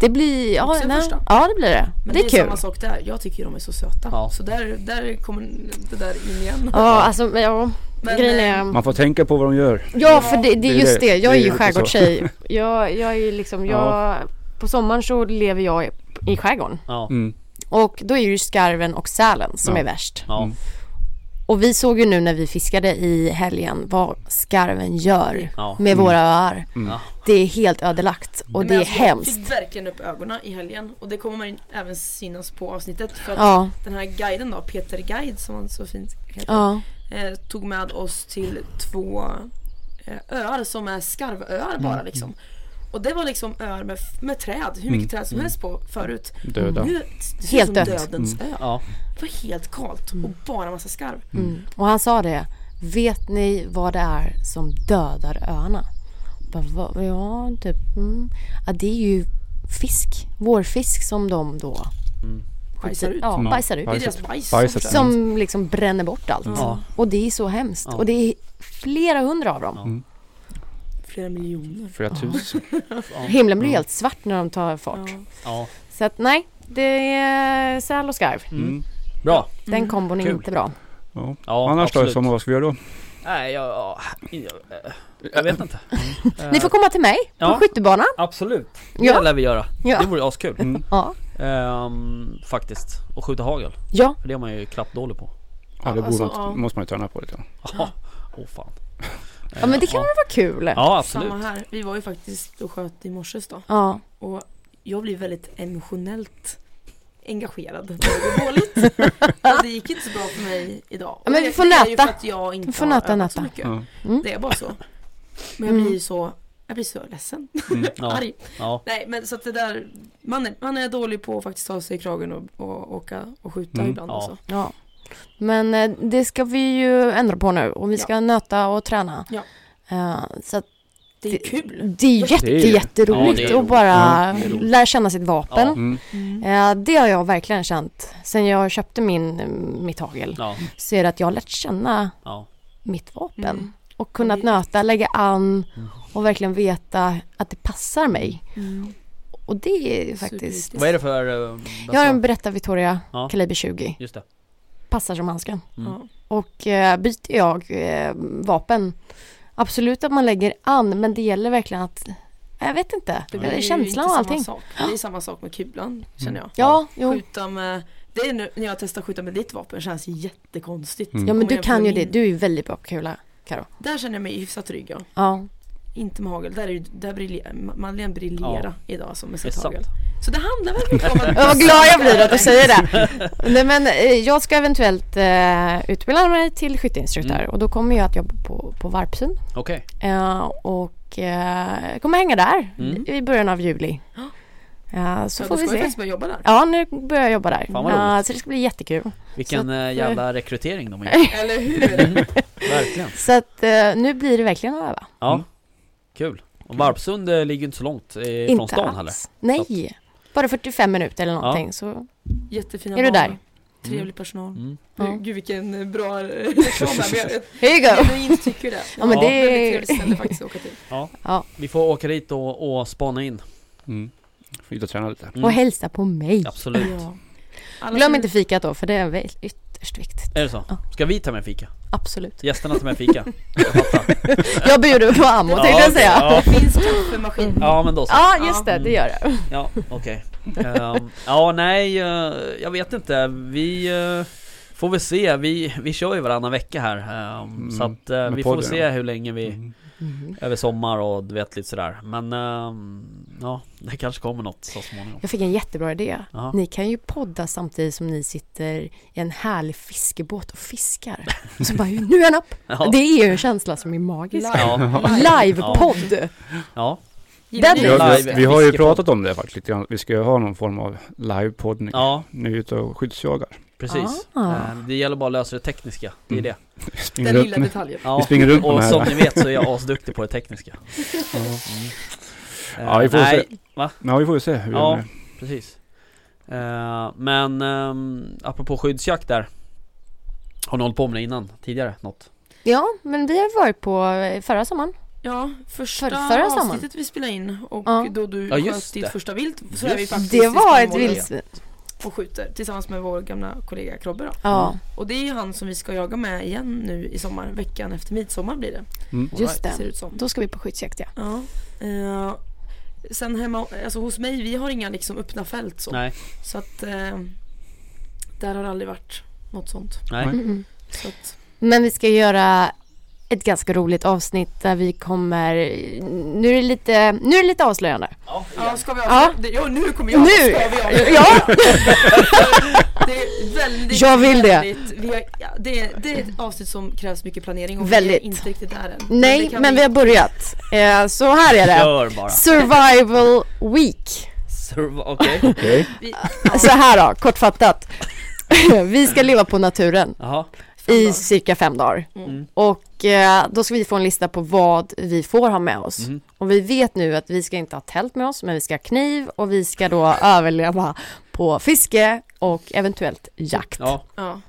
[SPEAKER 2] det blir, ja,
[SPEAKER 3] Också en
[SPEAKER 2] nej.
[SPEAKER 3] första.
[SPEAKER 2] ja det blir det.
[SPEAKER 3] Men
[SPEAKER 2] det är kul.
[SPEAKER 3] samma sak där. Jag tycker ju de är så söta.
[SPEAKER 4] Ja.
[SPEAKER 3] Så där, där kommer det där in igen.
[SPEAKER 2] Ja, alltså, men, ja,
[SPEAKER 3] Men, eh,
[SPEAKER 2] grejen är,
[SPEAKER 5] Man får tänka på vad de gör.
[SPEAKER 2] ja för det, det är
[SPEAKER 5] det är
[SPEAKER 2] just
[SPEAKER 5] det.
[SPEAKER 2] det, jag är
[SPEAKER 5] Det är
[SPEAKER 2] ju
[SPEAKER 5] lite så.
[SPEAKER 2] skärgårdstjej. Jag, jag är ju liksom, jag,
[SPEAKER 5] Ja.
[SPEAKER 2] på sommaren så lever jag i, i skärgården.
[SPEAKER 4] Ja.
[SPEAKER 5] Mm.
[SPEAKER 2] Och då är ju skarven och sälen som
[SPEAKER 5] Ja.
[SPEAKER 2] är värst.
[SPEAKER 4] Ja.
[SPEAKER 5] Mm.
[SPEAKER 2] Och vi såg ju nu när vi fiskade i helgen vad skarven gör
[SPEAKER 4] Ja.
[SPEAKER 2] med våra öar.
[SPEAKER 5] Mm.
[SPEAKER 4] Ja.
[SPEAKER 2] Det är helt ödelagt och
[SPEAKER 3] Men
[SPEAKER 2] det är
[SPEAKER 3] alltså, Jag
[SPEAKER 2] hemskt.
[SPEAKER 3] fick verkligen upp ögonen i helgen och det kommer man ju även synas på avsnittet. För att
[SPEAKER 2] Ja,
[SPEAKER 3] den här guiden då, Peter Guide som han så fint heter,
[SPEAKER 2] ja,
[SPEAKER 3] eh, tog med oss till två eh, öar som är skarvöar bara liksom. Och det var liksom öar med, med träd, hur mycket
[SPEAKER 5] Mm.
[SPEAKER 3] träd som helst på förut.
[SPEAKER 5] Döda.
[SPEAKER 3] Nu, det ser
[SPEAKER 2] Helt
[SPEAKER 3] ut som
[SPEAKER 2] dött.
[SPEAKER 3] dödens ö.
[SPEAKER 4] Ja.
[SPEAKER 3] Det var helt kallt och bara massa skarv.
[SPEAKER 2] mm. och han sa det. Vet ni vad det är som dödar öarna? Bara, "Va- Ja, typ. Mm. Ja, det är ju fisk, vårfisk som de då
[SPEAKER 3] Bajsar ut.
[SPEAKER 2] Ja,
[SPEAKER 5] Mm.
[SPEAKER 2] bajsar ut.
[SPEAKER 3] Det är deras bajs.
[SPEAKER 5] Bajset.
[SPEAKER 2] Som liksom bränner bort allt.
[SPEAKER 4] Ja.
[SPEAKER 2] Och det är så hemskt.
[SPEAKER 4] Ja.
[SPEAKER 2] Och det är flera hundra av dem.
[SPEAKER 3] Flera miljoner.
[SPEAKER 5] Flera tusen.
[SPEAKER 2] Himlen blir helt svart när de tar fart.
[SPEAKER 3] Ja.
[SPEAKER 4] ja.
[SPEAKER 2] Så att nej, det är säl och skarv.
[SPEAKER 5] Mm.
[SPEAKER 4] Bra.
[SPEAKER 2] Den kombon är
[SPEAKER 4] Kul.
[SPEAKER 2] inte bra.
[SPEAKER 5] Ja.
[SPEAKER 4] Ja,
[SPEAKER 5] Annars då i
[SPEAKER 4] absolut.
[SPEAKER 5] sommar, vad ska vi göra då?
[SPEAKER 4] Nej, jag, ja, jag, jag vet inte.
[SPEAKER 2] Ni får komma till mig
[SPEAKER 4] Ja.
[SPEAKER 2] på skyttebanan.
[SPEAKER 4] Absolut. Det
[SPEAKER 2] Ja.
[SPEAKER 4] lär vi göra.
[SPEAKER 2] Ja.
[SPEAKER 4] Det vore askul.
[SPEAKER 5] Mm.
[SPEAKER 2] Ja.
[SPEAKER 4] Ehm, faktiskt. Och skjuta hagel.
[SPEAKER 2] ja.
[SPEAKER 4] För det är man ju klappdålig på.
[SPEAKER 5] Ja, det borde
[SPEAKER 3] alltså,
[SPEAKER 5] man,
[SPEAKER 3] ja.
[SPEAKER 5] måste man ju träna på lite. grann.
[SPEAKER 4] Åh oh, fan. Eh,
[SPEAKER 2] Ja men det kan väl vara kul?
[SPEAKER 4] Ja absolut.
[SPEAKER 3] Samma här. Vi var ju faktiskt och sköt i morse då.
[SPEAKER 2] Ja.
[SPEAKER 3] Och jag blir väldigt emotionellt engagerad när det går dåligt. alltså, det gick inte så bra för mig idag.
[SPEAKER 2] Ja, men
[SPEAKER 3] Och
[SPEAKER 2] vi
[SPEAKER 3] det-
[SPEAKER 2] får
[SPEAKER 3] det är ju
[SPEAKER 2] nöta.
[SPEAKER 3] för att jag inte
[SPEAKER 2] Vi får
[SPEAKER 3] har
[SPEAKER 2] nöta,
[SPEAKER 3] övat så
[SPEAKER 2] nöta.
[SPEAKER 3] mycket.
[SPEAKER 5] Ja.
[SPEAKER 2] Mm.
[SPEAKER 3] Det är bara så. Men jag
[SPEAKER 2] Mm.
[SPEAKER 3] blir ju så, jag blir så ledsen,
[SPEAKER 4] Ja,
[SPEAKER 3] arg.
[SPEAKER 4] ja.
[SPEAKER 3] Nej men så att det där, man är, man är dålig på att faktiskt ta sig i kragen och, och åka och skjuta
[SPEAKER 5] Mm.
[SPEAKER 3] ibland
[SPEAKER 4] Ja.
[SPEAKER 3] alltså.
[SPEAKER 2] Ja. Men eh, det ska vi ju ändra på nu och vi ska nöta och träna.
[SPEAKER 3] Ja.
[SPEAKER 2] Eh, så att
[SPEAKER 3] Det är ju kul.
[SPEAKER 2] det är jätte,
[SPEAKER 5] Det är ju-
[SPEAKER 4] Ja, det är
[SPEAKER 2] jätteroligt att
[SPEAKER 4] roligt.
[SPEAKER 2] bara
[SPEAKER 4] Ja, det är roligt.
[SPEAKER 2] lära känna sitt vapen.
[SPEAKER 5] Mm.
[SPEAKER 2] Eh, det har jag verkligen känt. Sen jag köpte min, mitt hagel
[SPEAKER 4] ja,
[SPEAKER 2] så är det att jag har lärt känna
[SPEAKER 4] ja.
[SPEAKER 2] mitt vapen.
[SPEAKER 3] Mm.
[SPEAKER 2] Och kunnat
[SPEAKER 3] Ja, det-
[SPEAKER 2] nöta, lägga an
[SPEAKER 4] Mm.
[SPEAKER 2] och verkligen veta att det passar mig.
[SPEAKER 3] Mm.
[SPEAKER 2] Och det är faktiskt...
[SPEAKER 3] Superviktigt.
[SPEAKER 4] Vad är det för... eh,
[SPEAKER 2] Jag har
[SPEAKER 4] bössa?
[SPEAKER 2] en Beretta Vittoria
[SPEAKER 4] Ja.
[SPEAKER 2] kaliber 20.
[SPEAKER 4] Just det.
[SPEAKER 2] Passar som handsken.
[SPEAKER 4] Mm.
[SPEAKER 3] Ja.
[SPEAKER 2] Och eh, byter jag eh, vapen, absolut att man lägger an, men det gäller verkligen att, jag vet inte, det
[SPEAKER 3] blir
[SPEAKER 2] är
[SPEAKER 3] ju inte
[SPEAKER 2] känslan och
[SPEAKER 3] samma
[SPEAKER 2] allting.
[SPEAKER 3] Sak. Det är samma sak med
[SPEAKER 4] Mm.
[SPEAKER 3] kulan känner jag.
[SPEAKER 2] Ja, jo.
[SPEAKER 3] Skjuta med, det är nu, när jag testar att skjuta med ditt vapen känns jättekonstigt.
[SPEAKER 5] Mm.
[SPEAKER 2] ja, men
[SPEAKER 3] Om
[SPEAKER 2] du
[SPEAKER 3] jag
[SPEAKER 2] kan ju
[SPEAKER 3] får
[SPEAKER 2] det,
[SPEAKER 3] min-
[SPEAKER 2] du är ju väldigt bra på kula.
[SPEAKER 3] Där känner jag mig hyfsat trygg ja.
[SPEAKER 2] Ja,
[SPEAKER 3] Inte med hagel, där, är, det- där briljer, Madeleine briljerar idag som med
[SPEAKER 4] Det är
[SPEAKER 3] sitt
[SPEAKER 4] sant.
[SPEAKER 3] hagel. Så det handlar väl mycket om att...
[SPEAKER 2] jag vad glad jag blir att du säger det. Nej men eh, jag ska eventuellt eh, utbilda mig till skytteinstruktör och då kommer jag att jobba på, på Varpsund.
[SPEAKER 4] Okej.
[SPEAKER 2] Eh, och eh, jag kommer hänga där
[SPEAKER 4] Mm.
[SPEAKER 2] i början av juli. Eh, så
[SPEAKER 3] Så
[SPEAKER 2] får vi
[SPEAKER 3] ska jag
[SPEAKER 2] se.
[SPEAKER 3] faktiskt börja jobba där.
[SPEAKER 2] Ja, nu börjar jag jobba där.
[SPEAKER 4] Fan vad
[SPEAKER 2] Eh,
[SPEAKER 4] roligt.
[SPEAKER 2] så det ska bli jättekul.
[SPEAKER 4] Vilken
[SPEAKER 2] Så att,
[SPEAKER 4] eh,
[SPEAKER 2] eh,
[SPEAKER 4] jävla rekrytering de har gjort.
[SPEAKER 3] Eller hur?
[SPEAKER 4] Verkligen.
[SPEAKER 2] Så att eh, nu blir det verkligen att öva.
[SPEAKER 4] Ja.
[SPEAKER 5] Mm.
[SPEAKER 4] Kul. Och Varpsund eh, ligger inte så långt eh, från
[SPEAKER 2] Inte
[SPEAKER 4] stan
[SPEAKER 2] alls.
[SPEAKER 4] heller.
[SPEAKER 2] Nej, bara 45 minuter eller någonting så
[SPEAKER 3] Jättefina
[SPEAKER 2] är du
[SPEAKER 3] barn.
[SPEAKER 2] där.
[SPEAKER 3] Trevlig personal.
[SPEAKER 4] Mm.
[SPEAKER 2] Ja.
[SPEAKER 3] Gud vilken eh, bra reklam där. men jag-
[SPEAKER 2] Here you
[SPEAKER 3] Jag
[SPEAKER 2] go!
[SPEAKER 3] genuint tycker det.
[SPEAKER 2] Ja, men
[SPEAKER 4] Ja.
[SPEAKER 2] det
[SPEAKER 3] Väldigt
[SPEAKER 2] är...
[SPEAKER 3] trevligt ställe faktiskt att åka till.
[SPEAKER 4] Vi får åka dit och, och spana in.
[SPEAKER 5] Mm. Får ut och träna lite.
[SPEAKER 4] Mm.
[SPEAKER 2] Och hälsa på mig.
[SPEAKER 4] Absolut.
[SPEAKER 3] Alla
[SPEAKER 2] Glöm
[SPEAKER 3] som-
[SPEAKER 2] inte fikat då, för det är väl ytterst viktigt.
[SPEAKER 4] Är det så? Ska vi ta med fika?
[SPEAKER 2] Absolut.
[SPEAKER 4] Gästerna tar med fika? Jag fattar.
[SPEAKER 2] Jag bjuder på ammo tänkte jag
[SPEAKER 4] okej.
[SPEAKER 2] säga. Ja,
[SPEAKER 4] Ja.
[SPEAKER 3] Det finns kaffemaskin.
[SPEAKER 4] ja, men då så.
[SPEAKER 2] just det, det gör jag.
[SPEAKER 4] Ja, okej. Ehm, ja, nej, eh, jag vet inte. Vi eh, får väl se. Vi, vi kör ju varannan vecka här. ehm,
[SPEAKER 5] Mm,
[SPEAKER 4] Så att eh,
[SPEAKER 5] med
[SPEAKER 4] vi får
[SPEAKER 5] podden,
[SPEAKER 4] se
[SPEAKER 5] ja.
[SPEAKER 4] hur länge vi...
[SPEAKER 5] Mm.
[SPEAKER 4] Över sommar och du vet lite sådär. Men ehm, ja, det kanske kommer något så småningom.
[SPEAKER 2] Jag fick en jättebra idé.
[SPEAKER 4] Ja.
[SPEAKER 2] Ni kan ju podda samtidigt som ni sitter i en härlig fiskebåt och fiskar. Och så bara, nu är han upp!
[SPEAKER 4] Ja.
[SPEAKER 2] Det är ju en känsla som är magisk.
[SPEAKER 4] Ja.
[SPEAKER 2] Livepodd!
[SPEAKER 4] ja.
[SPEAKER 3] Gillar
[SPEAKER 2] Den
[SPEAKER 3] ni-
[SPEAKER 5] Vi har, vi,
[SPEAKER 4] Live-
[SPEAKER 5] vi har ju
[SPEAKER 4] fiskepodd.
[SPEAKER 5] pratat om det faktiskt lite grann. Vi ska ju ha någon form av livepoddning.
[SPEAKER 4] Ja,
[SPEAKER 5] Nu är vi ute och skyddsjagar.
[SPEAKER 4] precis.
[SPEAKER 2] Ah.
[SPEAKER 4] Eh, Det gäller bara att lösa det tekniska, det är
[SPEAKER 5] Mm.
[SPEAKER 4] det.
[SPEAKER 5] Vi springer
[SPEAKER 3] Den
[SPEAKER 5] runt
[SPEAKER 3] lilla
[SPEAKER 5] med-
[SPEAKER 3] detaljen.
[SPEAKER 4] Ja.
[SPEAKER 5] springer runt med
[SPEAKER 4] Och
[SPEAKER 5] de här,
[SPEAKER 4] som
[SPEAKER 5] va?
[SPEAKER 4] ni vet så är jag asduktig på det tekniska. Eh,
[SPEAKER 5] Ja, vi får
[SPEAKER 4] nej,
[SPEAKER 5] se. Ja, vi får ju se hur vi
[SPEAKER 4] Ja.
[SPEAKER 5] gör med
[SPEAKER 4] precis. Eh, men um, apropå skyddsjakt där. Har ni hållit på med det innan? Tidigare? Något?
[SPEAKER 2] Ja, men vi har varit på eh, förra sommaren.
[SPEAKER 3] Ja, första
[SPEAKER 2] Förra- förra sommaren.
[SPEAKER 3] avsnittet vi spelade in och
[SPEAKER 2] Ja.
[SPEAKER 3] då du
[SPEAKER 4] Ja, just
[SPEAKER 3] sköt ditt
[SPEAKER 4] det.
[SPEAKER 3] första vilt så
[SPEAKER 4] Just
[SPEAKER 3] är vi faktiskt
[SPEAKER 2] Det
[SPEAKER 3] i
[SPEAKER 2] var ett
[SPEAKER 3] Skåne
[SPEAKER 2] vildsvin.
[SPEAKER 3] Och skjuter tillsammans med vår gamla kollega Krobbe då.
[SPEAKER 2] Ja,
[SPEAKER 3] Och det är ju han som vi ska jaga med igen nu i sommar, veckan efter midsommar blir det.
[SPEAKER 4] Mm.
[SPEAKER 2] just
[SPEAKER 3] Ser
[SPEAKER 2] det.
[SPEAKER 3] ut som.
[SPEAKER 2] Då ska vi på skyddsjakt ja.
[SPEAKER 3] Ja. Eh, sen hemma, alltså hos mig, vi har inga liksom öppna fält så.
[SPEAKER 4] Nej,
[SPEAKER 3] Så att eh, där har det aldrig varit något sånt.
[SPEAKER 4] nej.
[SPEAKER 5] Nej.
[SPEAKER 2] Mm.
[SPEAKER 3] Så att,
[SPEAKER 2] Men vi ska göra ett ganska roligt avsnitt där vi kommer... Nu är det lite, nu är det lite avslöjande.
[SPEAKER 3] ja, ska vi
[SPEAKER 2] Ja.
[SPEAKER 3] avslöja? det- Ja, nu kommer jag!
[SPEAKER 2] Nu!
[SPEAKER 3] Ska vi avslöja?
[SPEAKER 2] Ja!
[SPEAKER 3] Det är väldigt,
[SPEAKER 2] Jag vill det.
[SPEAKER 3] väldigt, vi har, ja, det, är, det är ett avsnitt som krävs mycket planering och vi är
[SPEAKER 2] Väldigt.
[SPEAKER 3] inte riktigt där än.
[SPEAKER 2] Nej,
[SPEAKER 3] det kan
[SPEAKER 2] men vi har börjat. Eh, Så här är det.
[SPEAKER 4] Kör bara.
[SPEAKER 2] Survival Week.
[SPEAKER 4] Serv- Okej.
[SPEAKER 5] Okej.
[SPEAKER 3] vi-
[SPEAKER 2] Så här då, kortfattat. Vi ska leva på naturen
[SPEAKER 4] Jaha.
[SPEAKER 2] i cirka fem dagar.
[SPEAKER 4] Mm.
[SPEAKER 2] Och eh, då ska vi få en lista på vad vi får ha med oss.
[SPEAKER 4] Mhm.
[SPEAKER 2] Och vi vet nu att vi ska inte ha tält med oss, men vi ska ha kniv och vi ska då överleva på fiske och eventuellt jakt.
[SPEAKER 4] Ja.
[SPEAKER 3] Ja,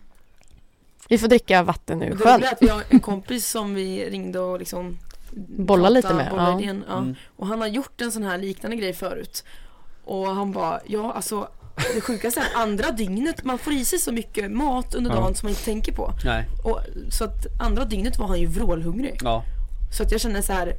[SPEAKER 2] Vi får dricka vatten
[SPEAKER 3] och
[SPEAKER 2] ur
[SPEAKER 3] det roliga
[SPEAKER 2] sjön.
[SPEAKER 3] är att vi har en kompis som vi ringde och liksom
[SPEAKER 2] Bolla lite med,
[SPEAKER 3] bolla
[SPEAKER 2] ja.
[SPEAKER 3] idén, ja.
[SPEAKER 4] Mm.
[SPEAKER 3] Och han har gjort en sån här liknande grej förut. Och han bara, ja alltså det sjukaste är att andra dygnet, man får i sig så mycket mat under
[SPEAKER 5] Ja.
[SPEAKER 3] dagen som man inte tänker på.
[SPEAKER 4] Nej.
[SPEAKER 3] Och, så att andra dygnet var han ju vrålhungrig.
[SPEAKER 4] Ja.
[SPEAKER 3] Så att jag kände så här,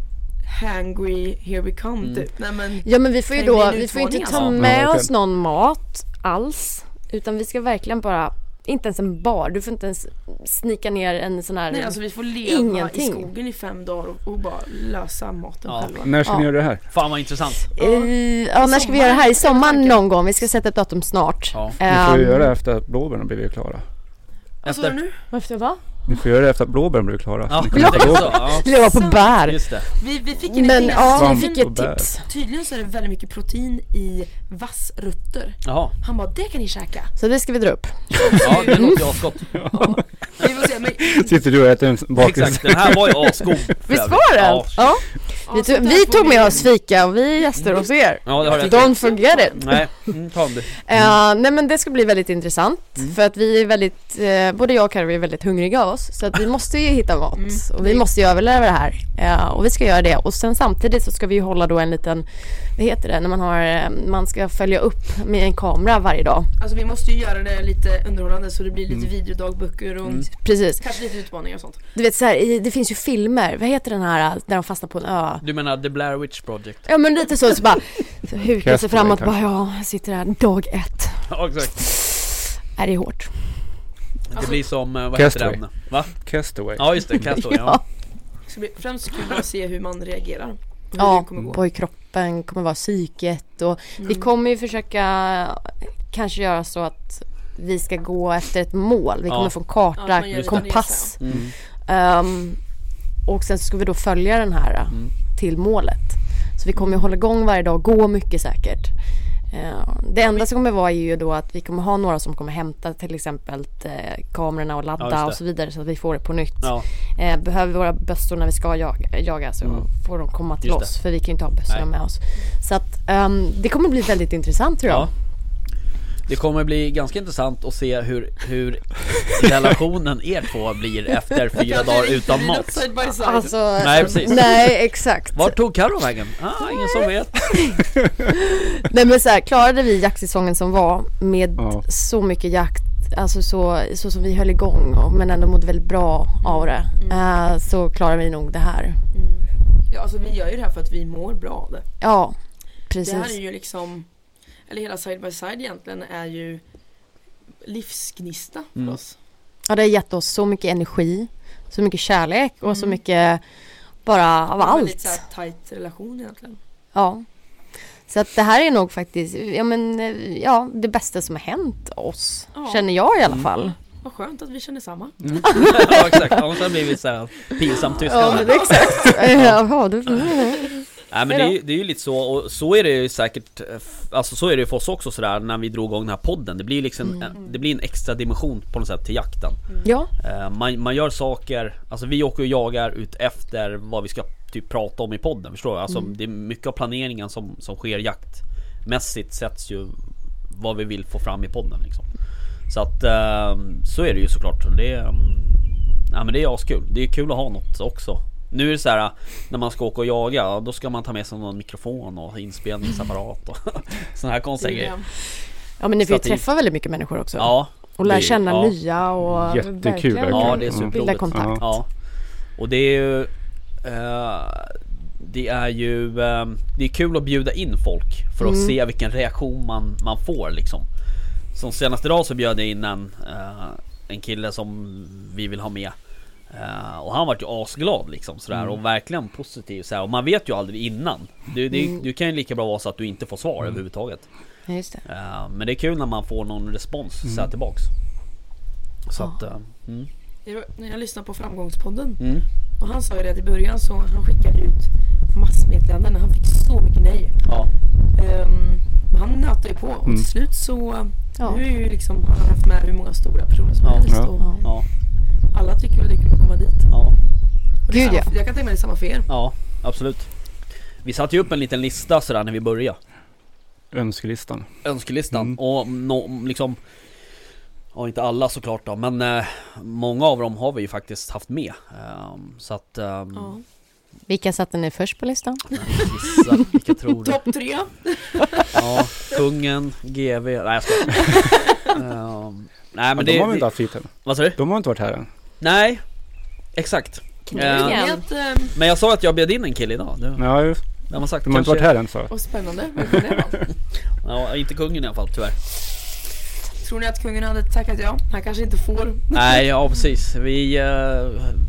[SPEAKER 3] hangry, here we come
[SPEAKER 4] Mm.
[SPEAKER 3] typ. Nej men,
[SPEAKER 2] Ja men vi får ju
[SPEAKER 3] Det blir
[SPEAKER 2] då,
[SPEAKER 3] en
[SPEAKER 2] vi får ju inte
[SPEAKER 3] utmaning,
[SPEAKER 2] ta
[SPEAKER 4] alltså.
[SPEAKER 5] Ja,
[SPEAKER 2] med
[SPEAKER 5] verkligen.
[SPEAKER 2] oss någon mat alls. Utan vi ska verkligen bara inte ens en bar. Du får inte ens snika ner en sån här...
[SPEAKER 3] Nej alltså vi får leva
[SPEAKER 2] Ingenting.
[SPEAKER 3] i skogen i fem dagar och, och bara lösa maten
[SPEAKER 4] Ja.
[SPEAKER 3] själva.
[SPEAKER 5] När ska ni
[SPEAKER 2] Ja.
[SPEAKER 5] göra det här?
[SPEAKER 4] Fan vad intressant!
[SPEAKER 2] Eh, ja, när ska vi göra det här? I sommaren någon gång. Vi ska sätta ett datum snart.
[SPEAKER 4] Ja. Ni
[SPEAKER 5] Ni får ju
[SPEAKER 2] Ehm,
[SPEAKER 5] göra det efter att blåbären blivit klara.
[SPEAKER 3] Vad sa du
[SPEAKER 4] Efter...
[SPEAKER 3] nu?
[SPEAKER 2] Varför va?
[SPEAKER 5] Ni får göra det efter att blåbären blivit klara.
[SPEAKER 4] Ja,
[SPEAKER 5] Ni
[SPEAKER 4] jag
[SPEAKER 5] kan inte
[SPEAKER 4] tänkte
[SPEAKER 5] gå-
[SPEAKER 4] så. Ja,
[SPEAKER 2] Leva på bär.
[SPEAKER 4] just det.
[SPEAKER 3] Vi, vi fick en
[SPEAKER 2] Men
[SPEAKER 3] idé.
[SPEAKER 2] ja, vi
[SPEAKER 5] Svamp
[SPEAKER 2] fick ett
[SPEAKER 5] och bär.
[SPEAKER 2] tips.
[SPEAKER 3] Tydligen så är det väldigt mycket protein i vassrötter.
[SPEAKER 4] Jaha.
[SPEAKER 3] Han bara, det kan ni käka.
[SPEAKER 2] Så det ska vi dra upp.
[SPEAKER 4] Ja, det låter
[SPEAKER 5] Mm.
[SPEAKER 4] ju asgott.
[SPEAKER 3] Vi får se, men...
[SPEAKER 5] Sitter du och äter en bakelse?
[SPEAKER 4] Exakt, den här var ju asgod. för
[SPEAKER 2] Visst
[SPEAKER 4] övrigt.
[SPEAKER 2] var den?
[SPEAKER 4] Ja,
[SPEAKER 2] Ja.
[SPEAKER 3] Ja,
[SPEAKER 2] Vi,
[SPEAKER 3] sånt
[SPEAKER 2] tog,
[SPEAKER 3] där
[SPEAKER 2] vi
[SPEAKER 3] får
[SPEAKER 2] tog
[SPEAKER 3] vi-
[SPEAKER 2] med oss fika och vi gäster hos er.
[SPEAKER 4] ja det har jag.
[SPEAKER 2] Don't forget it.
[SPEAKER 4] Nej, mm, ta en bit.
[SPEAKER 2] Eh, nej men det ska bli väldigt intressant för att vi är väldigt, eh, både jag och Carro är väldigt hungriga av oss så att vi måste ju hitta mat och vi måste ju överleva det här Eh, och vi ska göra det och sen samtidigt så ska vi ju hålla då en liten, vad heter det, när man har, eh, man ska följa upp med en kamera varje dag.
[SPEAKER 3] Alltså vi måste ju göra det lite underhållande så det blir
[SPEAKER 4] Mm.
[SPEAKER 3] lite videodagböcker och
[SPEAKER 2] Precis,
[SPEAKER 3] kanske lite utmaningar och sånt.
[SPEAKER 2] du vet så här, i- det finns ju filmer, vad heter den här eh, där de fastnar på en ö?
[SPEAKER 4] Du menar The Blair Witch Project?
[SPEAKER 2] Ja men lite så, så bara så hukar
[SPEAKER 5] Casper,
[SPEAKER 2] sig framåt
[SPEAKER 5] kanske.
[SPEAKER 2] bara ja, jag sitter här dag ett.
[SPEAKER 4] Ja, exakt.
[SPEAKER 2] Är det hårt?
[SPEAKER 4] Det blir som, eh, vad
[SPEAKER 5] Castaway.
[SPEAKER 4] heter den? Va?
[SPEAKER 5] Castaway.
[SPEAKER 4] Ja just det, Castaway. ja.
[SPEAKER 3] Det ska bli främst kul att se hur man reagerar. Hur
[SPEAKER 2] Ja,
[SPEAKER 3] det kommer gå. Mm.
[SPEAKER 2] på hur kroppen kommer vara, psyket och
[SPEAKER 4] Mm.
[SPEAKER 2] vi kommer ju försöka kanske göra så att vi ska gå efter ett mål. Vi
[SPEAKER 4] Ja.
[SPEAKER 2] kommer få en
[SPEAKER 3] Ja,
[SPEAKER 2] karta,
[SPEAKER 3] att man gör en
[SPEAKER 2] kompass.
[SPEAKER 4] ja. Mm.
[SPEAKER 2] Ehm, och sen så ska vi då följa den här eh,
[SPEAKER 4] mm.
[SPEAKER 2] till målet. Så vi kommer ju hålla igång varje dag och gå mycket säkert. Ehm, det enda som kommer vara är ju då att vi kommer ha några som kommer hämta till exempel eh, kamerorna och
[SPEAKER 4] Ja,
[SPEAKER 2] ladda
[SPEAKER 4] just det.
[SPEAKER 2] och så vidare så att vi får det på nytt.
[SPEAKER 4] Ja,
[SPEAKER 2] Eh, behöver vi våra bössor när vi ska jaga, jaga så får de komma till
[SPEAKER 4] Mm. Just
[SPEAKER 2] oss. För vi kan ju inte ha bössorna
[SPEAKER 4] Nej.
[SPEAKER 2] med oss. Så att ehm, det kommer bli väldigt intressant tror jag.
[SPEAKER 4] ja. Det kommer bli ganska intressant att se hur, hur relationen er två blir efter fyra dagar utan mat.
[SPEAKER 3] Side by side.
[SPEAKER 2] Alltså,
[SPEAKER 4] Nej, precis.
[SPEAKER 2] nej exakt.
[SPEAKER 4] Vart tog Carro vägen? Ah, ingen som vet.
[SPEAKER 2] Nej men så här, klarade vi jaktsäsongen som var med
[SPEAKER 5] Ja.
[SPEAKER 2] så mycket jakt, alltså så, så som vi höll igång och- men ändå mådde väldigt bra av det.
[SPEAKER 3] Mm.
[SPEAKER 2] eh, så klarar vi nog det här.
[SPEAKER 3] Ja, alltså vi gör ju det här för att vi mår bra av det.
[SPEAKER 2] Ja,
[SPEAKER 3] Det här är
[SPEAKER 2] precis.
[SPEAKER 3] ju liksom, eller hela side by side egentligen är ju livsgnista för
[SPEAKER 4] Mm.
[SPEAKER 3] oss.
[SPEAKER 2] Ja, det har gett oss så mycket energi, så mycket kärlek och
[SPEAKER 3] Mm.
[SPEAKER 2] så mycket bara av
[SPEAKER 3] En väldigt
[SPEAKER 2] allt.
[SPEAKER 3] så här tajt relation egentligen.
[SPEAKER 2] Ja. Så att det här är nog faktiskt, ja men, eh, ja, det bästa som har hänt oss.
[SPEAKER 3] Ja.
[SPEAKER 2] Känner jag i
[SPEAKER 4] Mm.
[SPEAKER 2] alla fall.
[SPEAKER 3] Vad skönt att vi känner samma.
[SPEAKER 4] Ja exakt, annars hade det blivit såhär pinsamt tystnad.
[SPEAKER 2] Ja, men det är exakt. Jaha, du
[SPEAKER 4] Nej men det är, ju, det är ju lite så, och så är det ju säkert eh, f- Alltså så är det ju för oss också sådär när vi drog igång den här podden Det blir liksom en, det blir en extra dimension på något sätt till jakten
[SPEAKER 2] Ja,
[SPEAKER 4] Eh, man, man gör saker, alltså vi åker och jagar ut efter vad vi ska typ prata om i podden Förstår du? Alltså det är mycket av planeringen som, som sker jaktmässigt sätts ju Vad vi vill få fram i podden liksom Så att eh, så är det ju såklart Och det är, Ja men det är askul, det är kul att ha något också Nu är det så här när man ska åka och jaga, ja, då ska man ta med sig någon mikrofon och inspelningsapparat och sådana här konstiga grejer
[SPEAKER 2] ja men ni får ju
[SPEAKER 4] Stativ.
[SPEAKER 2] träffa väldigt mycket människor också.
[SPEAKER 4] Ja
[SPEAKER 2] och lära
[SPEAKER 4] det-
[SPEAKER 2] känna
[SPEAKER 4] ja.
[SPEAKER 2] nya och
[SPEAKER 5] Jättekul,
[SPEAKER 2] verkligen
[SPEAKER 5] verkligen.
[SPEAKER 4] Ja, det är
[SPEAKER 2] bilda
[SPEAKER 4] superroligt.
[SPEAKER 2] kontakt.
[SPEAKER 5] Ja.
[SPEAKER 4] Ja Och det är ju eh, Det är ju eh, Det är kul att bjuda in folk För att
[SPEAKER 2] Mm.
[SPEAKER 4] se vilken reaktion man, man får liksom Som senast idag så bjöd jag in en eh, En kille som vi vill ha med Eh, och han vart ju asglad liksom sådär
[SPEAKER 2] Mm.
[SPEAKER 4] och verkligen positiv såhär. Och man vet ju aldrig innan du, det,
[SPEAKER 2] Mm.
[SPEAKER 4] du kan ju lika bra vara så att du inte får svar överhuvudtaget
[SPEAKER 2] Ja, just det.
[SPEAKER 4] Eh, Men det är kul när man får någon respons så
[SPEAKER 2] Mm.
[SPEAKER 4] såhär tillbaks Så att eh, mm,
[SPEAKER 3] Det var- När jag lyssnade på Framgångspodden
[SPEAKER 4] mm.
[SPEAKER 3] och han sa ju det att i början så han skickade ut massmeddelanden. Han fick så mycket nej.
[SPEAKER 4] Ja,
[SPEAKER 3] Ehm, men han nöter ju på och
[SPEAKER 4] Mm.
[SPEAKER 3] till slut så
[SPEAKER 2] Ja.
[SPEAKER 3] nu är ju liksom, han har haft med hur många stora personer som
[SPEAKER 4] Ja.
[SPEAKER 3] helst
[SPEAKER 5] Ja.
[SPEAKER 3] och
[SPEAKER 4] ja,
[SPEAKER 3] alla tycker väl det är kul att komma dit.
[SPEAKER 4] ja
[SPEAKER 3] Och det är
[SPEAKER 2] Gud, ja.
[SPEAKER 3] samma- Jag kan tänka mig det är samma för er.
[SPEAKER 4] Ja, absolut. Vi satte ju upp en liten lista sådär när vi började.
[SPEAKER 5] Önskelistan.
[SPEAKER 4] Önskelistan.
[SPEAKER 5] Mm.
[SPEAKER 4] Och no, liksom... Ja, inte alla såklart då, men eh, många av dem har vi ju faktiskt haft med. Ehm, så att... ehm,
[SPEAKER 3] Ja.
[SPEAKER 2] Vilka satte ni först på listan?
[SPEAKER 4] gissa vilka tror du?
[SPEAKER 3] Topp tre.
[SPEAKER 4] Ja, kungen, GV Nej, jag skojar. Ehm, Nej, men
[SPEAKER 5] de har vi
[SPEAKER 4] det...
[SPEAKER 5] inte
[SPEAKER 4] det
[SPEAKER 5] haft hit än.
[SPEAKER 4] vad sa du?
[SPEAKER 5] De har inte varit här än.
[SPEAKER 4] Nej, exakt.
[SPEAKER 2] Kungen.
[SPEAKER 4] Ehm,
[SPEAKER 3] Det är att, ehm,
[SPEAKER 4] men jag sa att jag bjöd in en kille idag. Det,
[SPEAKER 5] Ja, just.
[SPEAKER 4] det har man sagt.
[SPEAKER 5] de har inte
[SPEAKER 4] Kanske-
[SPEAKER 5] varit här än så.
[SPEAKER 3] och spännande. Vem kan det vara?
[SPEAKER 4] Ja, inte kungen i alla fall, tyvärr.
[SPEAKER 3] Tror ni att kungen hade tackat ja? Han kanske inte får.
[SPEAKER 4] Nej, ja precis. Vi, eh,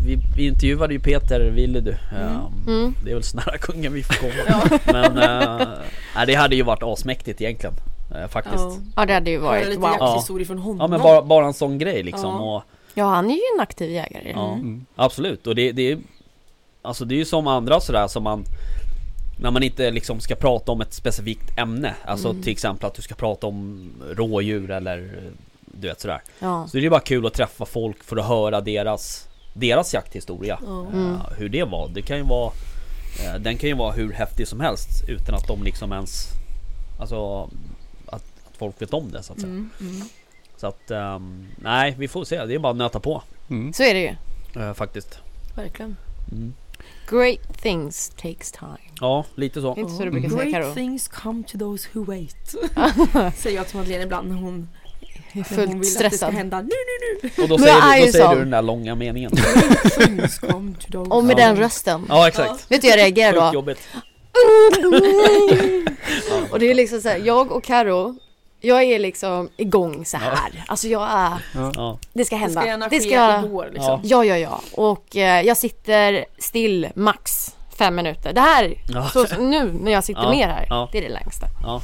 [SPEAKER 4] vi, vi intervjuade ju Peter Willedu. Eh,
[SPEAKER 2] Mm.
[SPEAKER 4] Det är väl så nära kungen vi får komma. Men eh, nej, det hade ju varit asmäktigt egentligen. eh, Faktiskt.
[SPEAKER 3] Ja.
[SPEAKER 4] Ja.
[SPEAKER 2] Ja, det hade ju
[SPEAKER 3] Höra
[SPEAKER 2] varit
[SPEAKER 3] lite
[SPEAKER 2] wow.
[SPEAKER 3] jakthistorier från honom.
[SPEAKER 4] men bara, bara en sån grej liksom.
[SPEAKER 3] Ja.
[SPEAKER 4] Och,
[SPEAKER 2] Ja, han är ju en aktiv jägare.
[SPEAKER 4] ja,
[SPEAKER 5] Mm.
[SPEAKER 4] Absolut. Och det, det, är- alltså, det är ju som andra sådär som man när man inte liksom ska prata om ett specifikt ämne. Alltså till exempel att du ska prata om rådjur eller eh, du vet sådär.
[SPEAKER 2] Ja.
[SPEAKER 4] Så det är bara kul att träffa folk för att höra deras, deras jakthistoria.
[SPEAKER 3] Ja.
[SPEAKER 4] Eh, hur det var. Det kan ju vara, eh, den kan ju vara hur häftig som helst utan att de liksom ens... Alltså att, att folk vet om det så att säga.
[SPEAKER 3] Mm, mm.
[SPEAKER 4] Så att ehm, nej, vi får se. Det är bara att nöta på
[SPEAKER 5] Mm.
[SPEAKER 2] Så är det ju.
[SPEAKER 4] eh, faktiskt.
[SPEAKER 3] Verkligen.
[SPEAKER 4] Mm.
[SPEAKER 2] Great things takes time.
[SPEAKER 4] Ja, lite
[SPEAKER 2] Det är
[SPEAKER 4] så.
[SPEAKER 2] inte så
[SPEAKER 5] Mm.
[SPEAKER 2] du brukar säga
[SPEAKER 3] Great
[SPEAKER 2] Karo.
[SPEAKER 3] things come to those who wait. Säger jag till Madeleine ibland när hon när
[SPEAKER 2] Fullt
[SPEAKER 3] hon vill att det ska
[SPEAKER 2] stressad.
[SPEAKER 3] hända. Nu, nu,
[SPEAKER 4] Och då
[SPEAKER 2] Men
[SPEAKER 4] säger,
[SPEAKER 2] är
[SPEAKER 4] du,
[SPEAKER 2] ju
[SPEAKER 4] då säger
[SPEAKER 2] sån.
[SPEAKER 4] du den där långa meningen.
[SPEAKER 3] nu. Things come to those
[SPEAKER 2] Och med
[SPEAKER 4] Ja.
[SPEAKER 2] den rösten.
[SPEAKER 4] Ja, exakt.
[SPEAKER 2] Vet du jag reagerar
[SPEAKER 4] Sjukt
[SPEAKER 2] då?
[SPEAKER 4] jobbigt.
[SPEAKER 2] Och det är liksom så här, jag och Karo jag är liksom igång så här. Alltså jag är,
[SPEAKER 4] Ja,
[SPEAKER 2] det ska
[SPEAKER 3] Det ska
[SPEAKER 2] hända.
[SPEAKER 3] gärna ske ska... igår
[SPEAKER 4] ja.
[SPEAKER 3] liksom.
[SPEAKER 2] Ja, ja, ja. Och eh, jag sitter still max fem minuter. Det här,
[SPEAKER 4] Ja.
[SPEAKER 2] så, nu när jag sitter
[SPEAKER 4] Ja,
[SPEAKER 2] med här,
[SPEAKER 4] ja.
[SPEAKER 2] det är det längsta.
[SPEAKER 4] Ja.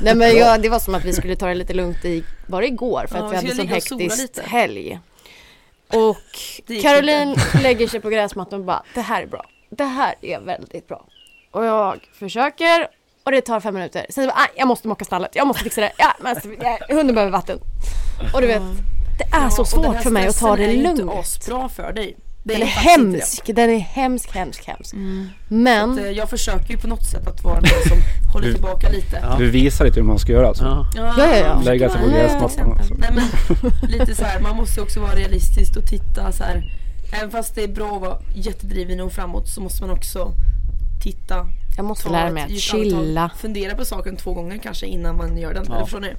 [SPEAKER 2] Nej men jag, det var som att vi skulle ta det lite lugnt i, var det igår? För
[SPEAKER 3] Ja,
[SPEAKER 2] att
[SPEAKER 3] vi
[SPEAKER 2] vi hade
[SPEAKER 3] skulle
[SPEAKER 2] sån
[SPEAKER 3] ligga och sola
[SPEAKER 2] hektisk
[SPEAKER 3] lite.
[SPEAKER 2] helg. Och
[SPEAKER 3] Det gick
[SPEAKER 2] Caroline lägger sig på gräsmattan och bara, det här är bra. Det här är väldigt bra. Och jag försöker och det tar fem minuter. Sen så bara, "Ah, jag måste mocka stallet, jag måste fixa det, ja, men, alltså, ja, hunden behöver vatten. Och du vet, det är
[SPEAKER 3] Mm. Ja,
[SPEAKER 2] så
[SPEAKER 3] och den
[SPEAKER 2] svårt
[SPEAKER 3] här
[SPEAKER 2] för mig att ta
[SPEAKER 3] stressen
[SPEAKER 2] det
[SPEAKER 3] är ju
[SPEAKER 2] lugnt.
[SPEAKER 3] inte asbra för dig. Det
[SPEAKER 2] Den är
[SPEAKER 3] faktiskt inte det.
[SPEAKER 2] hemsk, den är hemsk, hemsk, hemsk. Men,
[SPEAKER 3] Så att, eh, Jag försöker ju på något sätt att vara den som håller tillbaka lite.
[SPEAKER 4] Ja.
[SPEAKER 5] Du visar lite hur man ska göra alltså.
[SPEAKER 4] Ja.
[SPEAKER 2] Ja, ja, ja.
[SPEAKER 5] Lägga sig på
[SPEAKER 2] Ja, ja, ja.
[SPEAKER 5] gräsmattan alltså.
[SPEAKER 3] Nej men lite så här, man måste också vara realistisk och titta så här. Även fast det är bra att vara jättedriven och framåt så måste man också titta.
[SPEAKER 2] jag måste
[SPEAKER 3] ta
[SPEAKER 2] lära
[SPEAKER 3] ett
[SPEAKER 2] mig att
[SPEAKER 3] djupt andetag,
[SPEAKER 2] chilla.
[SPEAKER 3] Fundera på saken två gånger kanske innan man gör den.
[SPEAKER 4] Ja.
[SPEAKER 3] Eller förstår ni?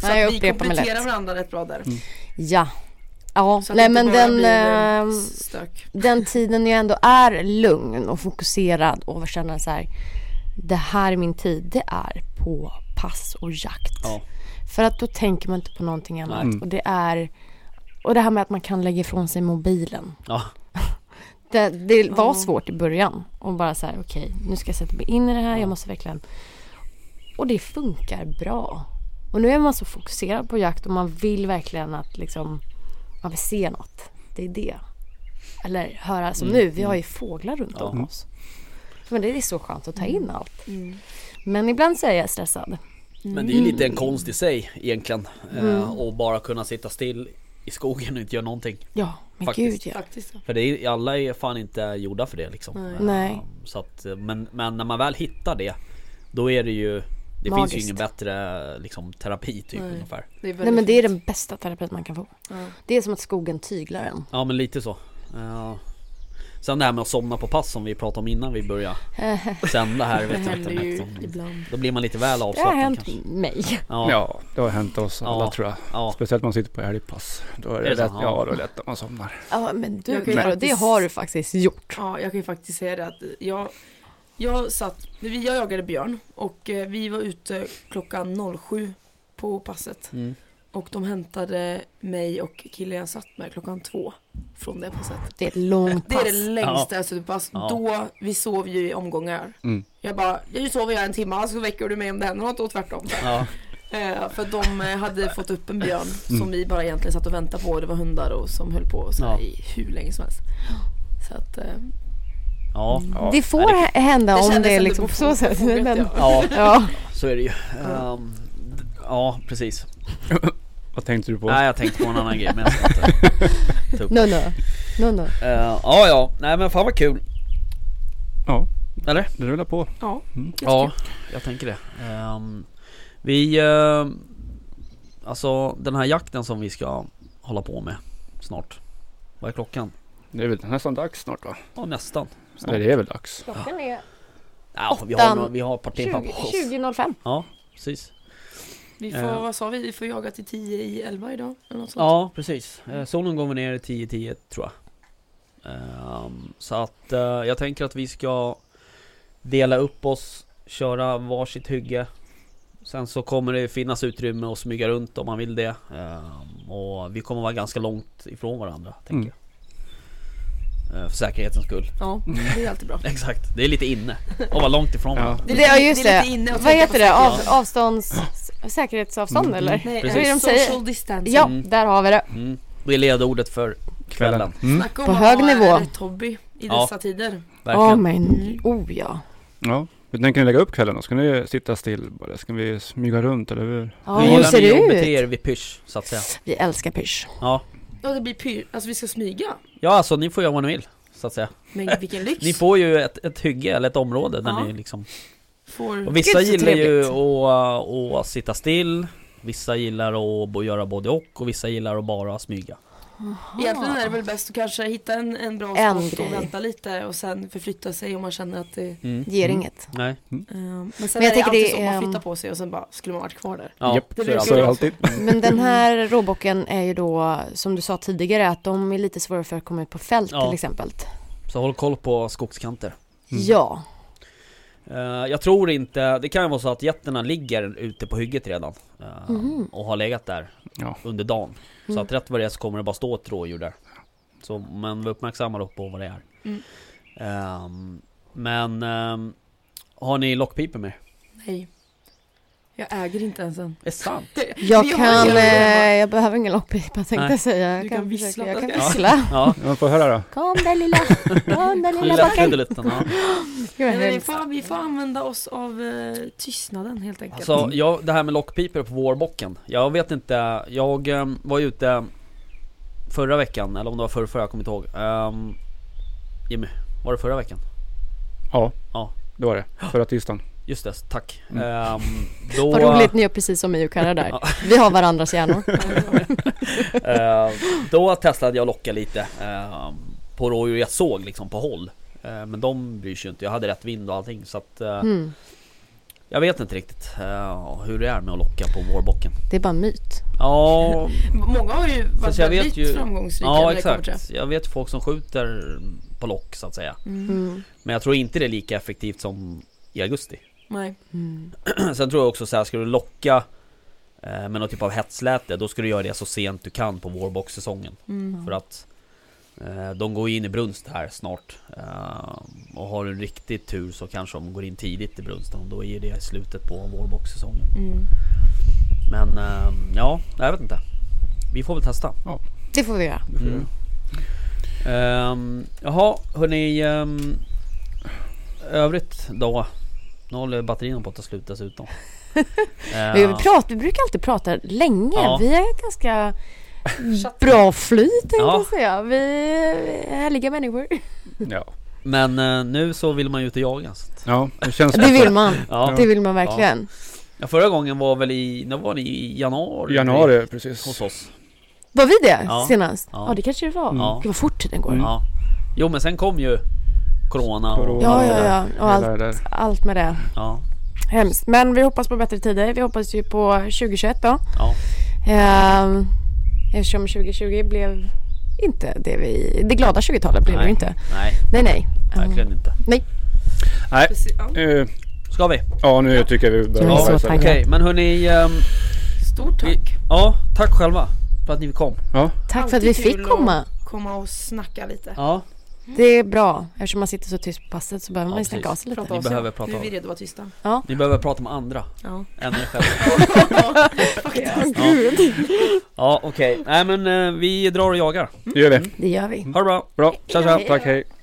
[SPEAKER 3] Så
[SPEAKER 2] Nej, jag
[SPEAKER 3] att vi
[SPEAKER 2] upprepar mig
[SPEAKER 3] kompletterar
[SPEAKER 2] lätt.
[SPEAKER 3] varandra rätt bra där.
[SPEAKER 2] Ja. Ja,
[SPEAKER 3] Så
[SPEAKER 2] nej
[SPEAKER 3] att det inte
[SPEAKER 2] men
[SPEAKER 3] bara
[SPEAKER 2] den,
[SPEAKER 3] blir eh,
[SPEAKER 2] ehm,
[SPEAKER 3] stök.
[SPEAKER 2] den tiden jag ändå är lugn och fokuserad och känner så här, det här är min tid, det är på pass och jakt.
[SPEAKER 4] Ja.
[SPEAKER 2] För att då tänker man inte på någonting annat
[SPEAKER 5] Mm.
[SPEAKER 2] och det är, och det här med att man kan lägga ifrån sig mobilen.
[SPEAKER 4] Ja.
[SPEAKER 2] Det, det var
[SPEAKER 3] Ja.
[SPEAKER 2] svårt i början och bara så här, okej, nu ska jag sätta mig in i det här, jag måste verkligen... Och det funkar bra. Och nu är man så fokuserad på jakt och man vill verkligen att liksom, man vill se något. Det är det. Eller höra, som nu, vi har ju fåglar runt
[SPEAKER 4] Ja.
[SPEAKER 2] om oss. Men det är så skönt att ta in allt.
[SPEAKER 3] Mm.
[SPEAKER 2] Men ibland så är jag stressad.
[SPEAKER 4] Men det är ju lite en konst i sig egentligen. Eh, och bara kunna sitta still i skogen och inte göra någonting.
[SPEAKER 2] Ja, men
[SPEAKER 4] Faktiskt.
[SPEAKER 2] gud ja.
[SPEAKER 3] Faktiskt. ja.
[SPEAKER 4] För det är, alla är fan inte gjorda för det liksom.
[SPEAKER 3] Nej.
[SPEAKER 4] Eh,
[SPEAKER 2] Nej.
[SPEAKER 4] Så att, eh, men, men när man väl hittar det Då är det ju Det finns ju
[SPEAKER 2] Magiskt.
[SPEAKER 4] ingen bättre liksom, terapi typ
[SPEAKER 3] Nej.
[SPEAKER 4] ungefär
[SPEAKER 3] Det är väldigt
[SPEAKER 2] Nej men det är
[SPEAKER 3] fint.
[SPEAKER 2] den bästa terapin man kan få.
[SPEAKER 3] Ja.
[SPEAKER 2] Det är som att skogen tyglar en.
[SPEAKER 4] Ja men lite så Ja. Sen det här med att somna på pass som vi pratade om innan vi började sända här
[SPEAKER 3] Det
[SPEAKER 4] vet jag inte,
[SPEAKER 3] händer ju
[SPEAKER 4] liksom.
[SPEAKER 3] ibland.
[SPEAKER 4] Då blir man lite väl
[SPEAKER 2] Det har
[SPEAKER 4] avslappnad
[SPEAKER 2] hänt
[SPEAKER 4] kanske
[SPEAKER 2] mig.
[SPEAKER 4] Ja, ja.
[SPEAKER 5] Ja, det har hänt oss alla
[SPEAKER 4] Ja.
[SPEAKER 5] tror jag.
[SPEAKER 4] ja.
[SPEAKER 5] Speciellt när man sitter på älgpass. Då är det,
[SPEAKER 4] Är det
[SPEAKER 5] lätt,
[SPEAKER 4] så? Ja.
[SPEAKER 5] ja, då är det lätt att man somnar.
[SPEAKER 2] Ja men du
[SPEAKER 3] Jag kan ju
[SPEAKER 2] Karo, det
[SPEAKER 3] faktiskt-
[SPEAKER 2] har du faktiskt gjort.
[SPEAKER 3] Ja, jag kan ju faktiskt säga det att jag, jag satt, vi- jag jagade björn och eh, vi var ute klockan 07 på passet
[SPEAKER 4] Mm.
[SPEAKER 3] och de hämtade mig och killen jag satt med klockan två från det passet.
[SPEAKER 2] Det är ett långt
[SPEAKER 3] Det
[SPEAKER 2] pass.
[SPEAKER 3] är det längsta alltså, jag suttit på pass.
[SPEAKER 4] Ja.
[SPEAKER 3] Då, vi sov ju i omgångar.
[SPEAKER 5] Mm.
[SPEAKER 3] Jag bara, jag sover jag en timme så väcker du mig om det händer något och tvärtom.
[SPEAKER 4] Ja.
[SPEAKER 3] Eh, för de eh, hade fått upp en björn som vi bara egentligen satt och väntade på. Det var hundar och som höll på så här
[SPEAKER 4] Mm. Ja.
[SPEAKER 3] i hur länge som helst. Så att, eh,
[SPEAKER 4] Ja.
[SPEAKER 5] Ja.
[SPEAKER 2] Det får
[SPEAKER 4] Nej,
[SPEAKER 2] hända
[SPEAKER 3] det
[SPEAKER 2] om
[SPEAKER 3] kändes
[SPEAKER 2] det är
[SPEAKER 3] ändå
[SPEAKER 2] liksom på så
[SPEAKER 3] befo-
[SPEAKER 2] sätt.
[SPEAKER 3] befogat,
[SPEAKER 2] Men,
[SPEAKER 3] ja.
[SPEAKER 4] ja
[SPEAKER 2] ja.
[SPEAKER 4] så är det ju Ehm, d- Ja precis
[SPEAKER 5] Vad tänkte du på?
[SPEAKER 4] Nej jag tänkte på en annan grej men jag ska inte
[SPEAKER 2] No, no. No, no.
[SPEAKER 4] Eh, Ja ja, nej men fan vad kul
[SPEAKER 5] Ja.
[SPEAKER 4] Eller?
[SPEAKER 5] Det rullar på.
[SPEAKER 3] ja.
[SPEAKER 4] Ja, jag tänker det. Ehm, vi... ehm, alltså den här jakten som vi ska hålla på med snart. Vad är klockan?
[SPEAKER 5] Det är väl nästan dags snart va?
[SPEAKER 4] Ja, nästan. Snart.
[SPEAKER 5] Eller det är väl dags.
[SPEAKER 2] Klockan är
[SPEAKER 4] Ja, vi, har,
[SPEAKER 2] Åttan.
[SPEAKER 4] några- vi har ett par timmar på oss.
[SPEAKER 2] 20.05.
[SPEAKER 4] Ja, precis.
[SPEAKER 3] Vi får,
[SPEAKER 4] Eh.
[SPEAKER 3] vad sa vi? Vi får jaga till 10 i 11 idag eller något sånt.
[SPEAKER 4] Ja, precis. Eh, solen går väl ner i 10-10 tror jag. Ehm, så att eh, jag tänker att vi ska dela upp oss, köra varsitt hygge. Sen så kommer det finnas utrymme att smyga runt om man vill det. Ehm, Och vi kommer vara ganska långt ifrån varandra, tänker
[SPEAKER 5] Mm.
[SPEAKER 4] jag. Ehm, För säkerhetens skull.
[SPEAKER 3] Ja, det är alltid bra.
[SPEAKER 4] Exakt, det är lite inne att vara långt ifrån
[SPEAKER 5] Ja.
[SPEAKER 4] varandra.
[SPEAKER 2] Det, ja just det.
[SPEAKER 3] lite inne att
[SPEAKER 2] Vad
[SPEAKER 3] tänka på
[SPEAKER 2] heter det? Av,
[SPEAKER 4] säkerhet.
[SPEAKER 2] avstånds... Säkerhetsavstånd
[SPEAKER 4] Mm.
[SPEAKER 2] eller?
[SPEAKER 3] Nej, eh,
[SPEAKER 4] Precis.
[SPEAKER 2] Vad är det de säger?
[SPEAKER 3] Social distancing.
[SPEAKER 2] Ja,
[SPEAKER 4] Mm.
[SPEAKER 2] där har vi det.
[SPEAKER 4] Mm. Det är ledordet för kvällen.
[SPEAKER 5] Mm.
[SPEAKER 3] Snacka om
[SPEAKER 2] På
[SPEAKER 3] att
[SPEAKER 2] hög
[SPEAKER 3] vara
[SPEAKER 2] nivå.
[SPEAKER 3] rätt hobby i
[SPEAKER 4] Ja.
[SPEAKER 3] dessa tider.
[SPEAKER 2] Åh
[SPEAKER 4] Verkligen.
[SPEAKER 2] men, oh ja.
[SPEAKER 5] Ja. Hur tänker ni lägga upp kvällen då? Ska ni sitta still bara? Ska vi smyga runt eller hur?
[SPEAKER 2] Ja,
[SPEAKER 4] Vi
[SPEAKER 2] hur
[SPEAKER 4] gillar
[SPEAKER 2] ser
[SPEAKER 4] ni
[SPEAKER 2] det
[SPEAKER 4] att bete er
[SPEAKER 2] ut?
[SPEAKER 4] vid pysch, så att säga.
[SPEAKER 2] Vi älskar pysch.
[SPEAKER 4] Ja.
[SPEAKER 3] Ja, det blir pyr. Alltså vi ska smyga.
[SPEAKER 4] ja, alltså ni får göra vad ni vill, så att säga.
[SPEAKER 3] Men vilken lyx.
[SPEAKER 4] Ni får ju ett, ett hygge eller ett område där
[SPEAKER 3] Ja. Mm.
[SPEAKER 4] ni liksom...
[SPEAKER 3] Får...
[SPEAKER 4] Och vissa
[SPEAKER 2] Gud, så
[SPEAKER 4] gillar ju
[SPEAKER 2] trevligt.
[SPEAKER 4] att, att sitta still, vissa gillar att bo- göra både och och vissa gillar att bara smyga.
[SPEAKER 3] Egentligen är det väl bäst att kanske hitta en, en bra
[SPEAKER 2] En
[SPEAKER 3] spot
[SPEAKER 2] grej.
[SPEAKER 3] och vänta lite och sen förflytta sig om man känner att det...
[SPEAKER 4] Mm.
[SPEAKER 2] Ger inget.
[SPEAKER 4] Nej.
[SPEAKER 3] ehm, men
[SPEAKER 2] Men
[SPEAKER 3] sen
[SPEAKER 2] jag
[SPEAKER 3] är det
[SPEAKER 2] tänker
[SPEAKER 3] alltid
[SPEAKER 2] det
[SPEAKER 3] så,
[SPEAKER 2] är,
[SPEAKER 3] man flyttar
[SPEAKER 2] ehm,
[SPEAKER 3] på sig och sen bara skulle man varit kvar där.
[SPEAKER 4] Ja,
[SPEAKER 5] Japp.
[SPEAKER 4] så är
[SPEAKER 3] Det
[SPEAKER 4] det
[SPEAKER 3] brukar
[SPEAKER 5] Så är
[SPEAKER 4] alltid.
[SPEAKER 5] det alltid.
[SPEAKER 2] Men den här råbocken är ju då, som du sa tidigare, att de är lite svårare för att komma ut på fält
[SPEAKER 4] Ja. Mm.
[SPEAKER 2] till exempel.
[SPEAKER 4] Så håll koll på skogskanter.
[SPEAKER 2] Ja.
[SPEAKER 4] Eh, jag tror inte, det kan ju vara så att jätterna ligger ute på hygget redan eh, och har legat där
[SPEAKER 5] Ja.
[SPEAKER 4] under dagen. Så att rätt vad det är så kommer det bara stå ett rådjur där. Så, men var uppmärksamma då på vad det är.
[SPEAKER 3] Mm.
[SPEAKER 4] Ehm, men ehm, har ni lockpipor med er?
[SPEAKER 3] Nej. Jag äger inte ens en.
[SPEAKER 4] Det är sant!
[SPEAKER 2] Jag
[SPEAKER 3] Vi har
[SPEAKER 2] kan,
[SPEAKER 3] ju-
[SPEAKER 2] eh, jag behöver ingen lockpipa tänkte
[SPEAKER 4] Nej.
[SPEAKER 2] jag säga.
[SPEAKER 3] Du
[SPEAKER 2] Jag
[SPEAKER 3] kan
[SPEAKER 2] kan,
[SPEAKER 3] vissla.
[SPEAKER 2] försöka, jag kan
[SPEAKER 4] Ja.
[SPEAKER 2] vissla.
[SPEAKER 4] Ja,
[SPEAKER 5] Ja, men får jag höra då.
[SPEAKER 2] Kom där lilla, kom där lilla
[SPEAKER 4] lilla
[SPEAKER 2] bocken.
[SPEAKER 4] trudelutten. Ja.
[SPEAKER 2] Gud, vad
[SPEAKER 3] Nej, men vi,
[SPEAKER 2] hemskt.
[SPEAKER 3] får, vi får använda oss av eh, tystnaden helt enkelt.
[SPEAKER 4] Alltså, jag, det här med lockpipor på vårbocken. Jag vet inte, jag ehm, var ju ute förra veckan, eller om det var förra, förra jag kommer inte ihåg. Ehm, Jimmy, var det förra veckan?
[SPEAKER 5] Ja.
[SPEAKER 4] Ja.
[SPEAKER 5] Det var det. Förra tisdagen.
[SPEAKER 4] Just det, tack.
[SPEAKER 5] Mm.
[SPEAKER 4] Ehm, då,
[SPEAKER 2] Vad roligt, ni gör precis som mig och Kara där. Vi har varandras hjärnor.
[SPEAKER 4] ehm, då testade jag att locka lite ehm, på rådjur jag såg liksom på håll. Ehm, men de bryr sig ju inte, jag hade rätt vind och allting så att eh,
[SPEAKER 2] Mm.
[SPEAKER 4] jag vet inte riktigt eh, hur det är med att locka på vårbocken.
[SPEAKER 2] Det är bara en myt.
[SPEAKER 4] Ja,
[SPEAKER 3] Många har ju varit
[SPEAKER 4] Fast jag vet
[SPEAKER 3] väldigt
[SPEAKER 4] ju-
[SPEAKER 3] framgångsrika
[SPEAKER 4] ja
[SPEAKER 3] när det kommer till
[SPEAKER 4] exakt. Jag vet folk som skjuter på lock så att säga.
[SPEAKER 2] Mm.
[SPEAKER 4] Men jag tror inte det är lika effektivt som i augusti.
[SPEAKER 3] det. Nej.
[SPEAKER 2] Mm.
[SPEAKER 4] Sen tror jag också så här, ska du locka eh, med någon typ av hetsläte, då ska du göra det så sent du kan på vårbockssäsongen.
[SPEAKER 3] Mm.
[SPEAKER 4] För att eh, de går ju in i brunst här snart. Eh, och har du riktigt tur så kanske de går in tidigt i brunsten. Då är det i slutet på vårbockssäsongen.
[SPEAKER 3] Mm.
[SPEAKER 4] Men eh, ja, jag vet inte. Vi får väl testa.
[SPEAKER 2] Det får vi göra.
[SPEAKER 5] Det får jag
[SPEAKER 4] Mm.
[SPEAKER 5] göra.
[SPEAKER 4] Ehm, jaha, hörni. Um, övrigt då? Nu håller batterierna på att ta slut dessutom. Ehm,
[SPEAKER 2] Vi, pratar, vi brukar alltid prata länge.
[SPEAKER 4] Ja.
[SPEAKER 2] Vi är ganska bra flyt tänkte
[SPEAKER 4] Ja.
[SPEAKER 2] jag säga. Vi är härliga människor.
[SPEAKER 5] Ja.
[SPEAKER 4] men eh, nu så vill man ju ut och jaga. Så. att-
[SPEAKER 5] Ja, det känns
[SPEAKER 2] Det vill man.
[SPEAKER 4] Ja.
[SPEAKER 2] Det vill man verkligen.
[SPEAKER 4] Ja, förra gången var väl i, när var ni? I januari?
[SPEAKER 5] Januari,
[SPEAKER 4] Hos
[SPEAKER 5] precis.
[SPEAKER 4] oss.
[SPEAKER 2] Var vi det
[SPEAKER 4] Ja.
[SPEAKER 2] senast?
[SPEAKER 4] Ja.
[SPEAKER 2] Ja. det kanske det var.
[SPEAKER 4] Ja.
[SPEAKER 2] Gud vad fort tiden går.
[SPEAKER 4] Ja. Jo men sen kom ju Corona och
[SPEAKER 5] Mm. Corona.
[SPEAKER 2] Ja,
[SPEAKER 4] allt det
[SPEAKER 2] ja,
[SPEAKER 4] där.
[SPEAKER 2] ja. Och
[SPEAKER 5] Det
[SPEAKER 2] allt,
[SPEAKER 5] där, där.
[SPEAKER 2] allt med det.
[SPEAKER 4] ja.
[SPEAKER 2] Hemskt. Men vi hoppas på bättre tider. Vi hoppas ju på 2021 då.
[SPEAKER 4] Ja.
[SPEAKER 2] Ehm, eftersom 2020 blev inte det vi... Det glada 20-talet blev det ju inte.
[SPEAKER 4] Nej,
[SPEAKER 2] Nej, nej.
[SPEAKER 4] verkligen inte.
[SPEAKER 5] Nej.
[SPEAKER 3] Precis, ja.
[SPEAKER 5] eh,
[SPEAKER 4] Ska vi?
[SPEAKER 5] Ja, nu tycker jag vi börjar
[SPEAKER 2] Jag är så
[SPEAKER 5] avverka.
[SPEAKER 4] Okej,
[SPEAKER 2] taggad.
[SPEAKER 4] men hörni. ehm,
[SPEAKER 3] Stort tack.
[SPEAKER 4] vi, ja, tack själva för att ni kom.
[SPEAKER 5] Ja,
[SPEAKER 2] Ehm, Tack för att vi
[SPEAKER 3] Alltid kul
[SPEAKER 2] fick
[SPEAKER 3] att
[SPEAKER 2] komma.
[SPEAKER 3] Komma och snacka lite.
[SPEAKER 4] Ja,
[SPEAKER 2] Det är bra. Eftersom man sitter så tyst på passet så behöver
[SPEAKER 4] Ja,
[SPEAKER 2] man ju
[SPEAKER 4] precis.
[SPEAKER 2] snacka av sig lite.
[SPEAKER 3] Prata
[SPEAKER 4] Ni
[SPEAKER 3] oss, ja.
[SPEAKER 4] behöver prata
[SPEAKER 3] Nu är
[SPEAKER 4] av
[SPEAKER 3] vi
[SPEAKER 4] er.
[SPEAKER 3] redo att vara tysta.
[SPEAKER 4] Ni behöver prata med andra
[SPEAKER 3] Ja.
[SPEAKER 4] än er själva.
[SPEAKER 3] Faktiskt.
[SPEAKER 4] Ja, ja okej. Nej men eh, vi drar och jagar.
[SPEAKER 5] det gör vi.
[SPEAKER 2] Det gör vi.
[SPEAKER 4] Ha det bra.
[SPEAKER 5] Bra.
[SPEAKER 4] Mm. Tja tja.
[SPEAKER 5] Tack, hej.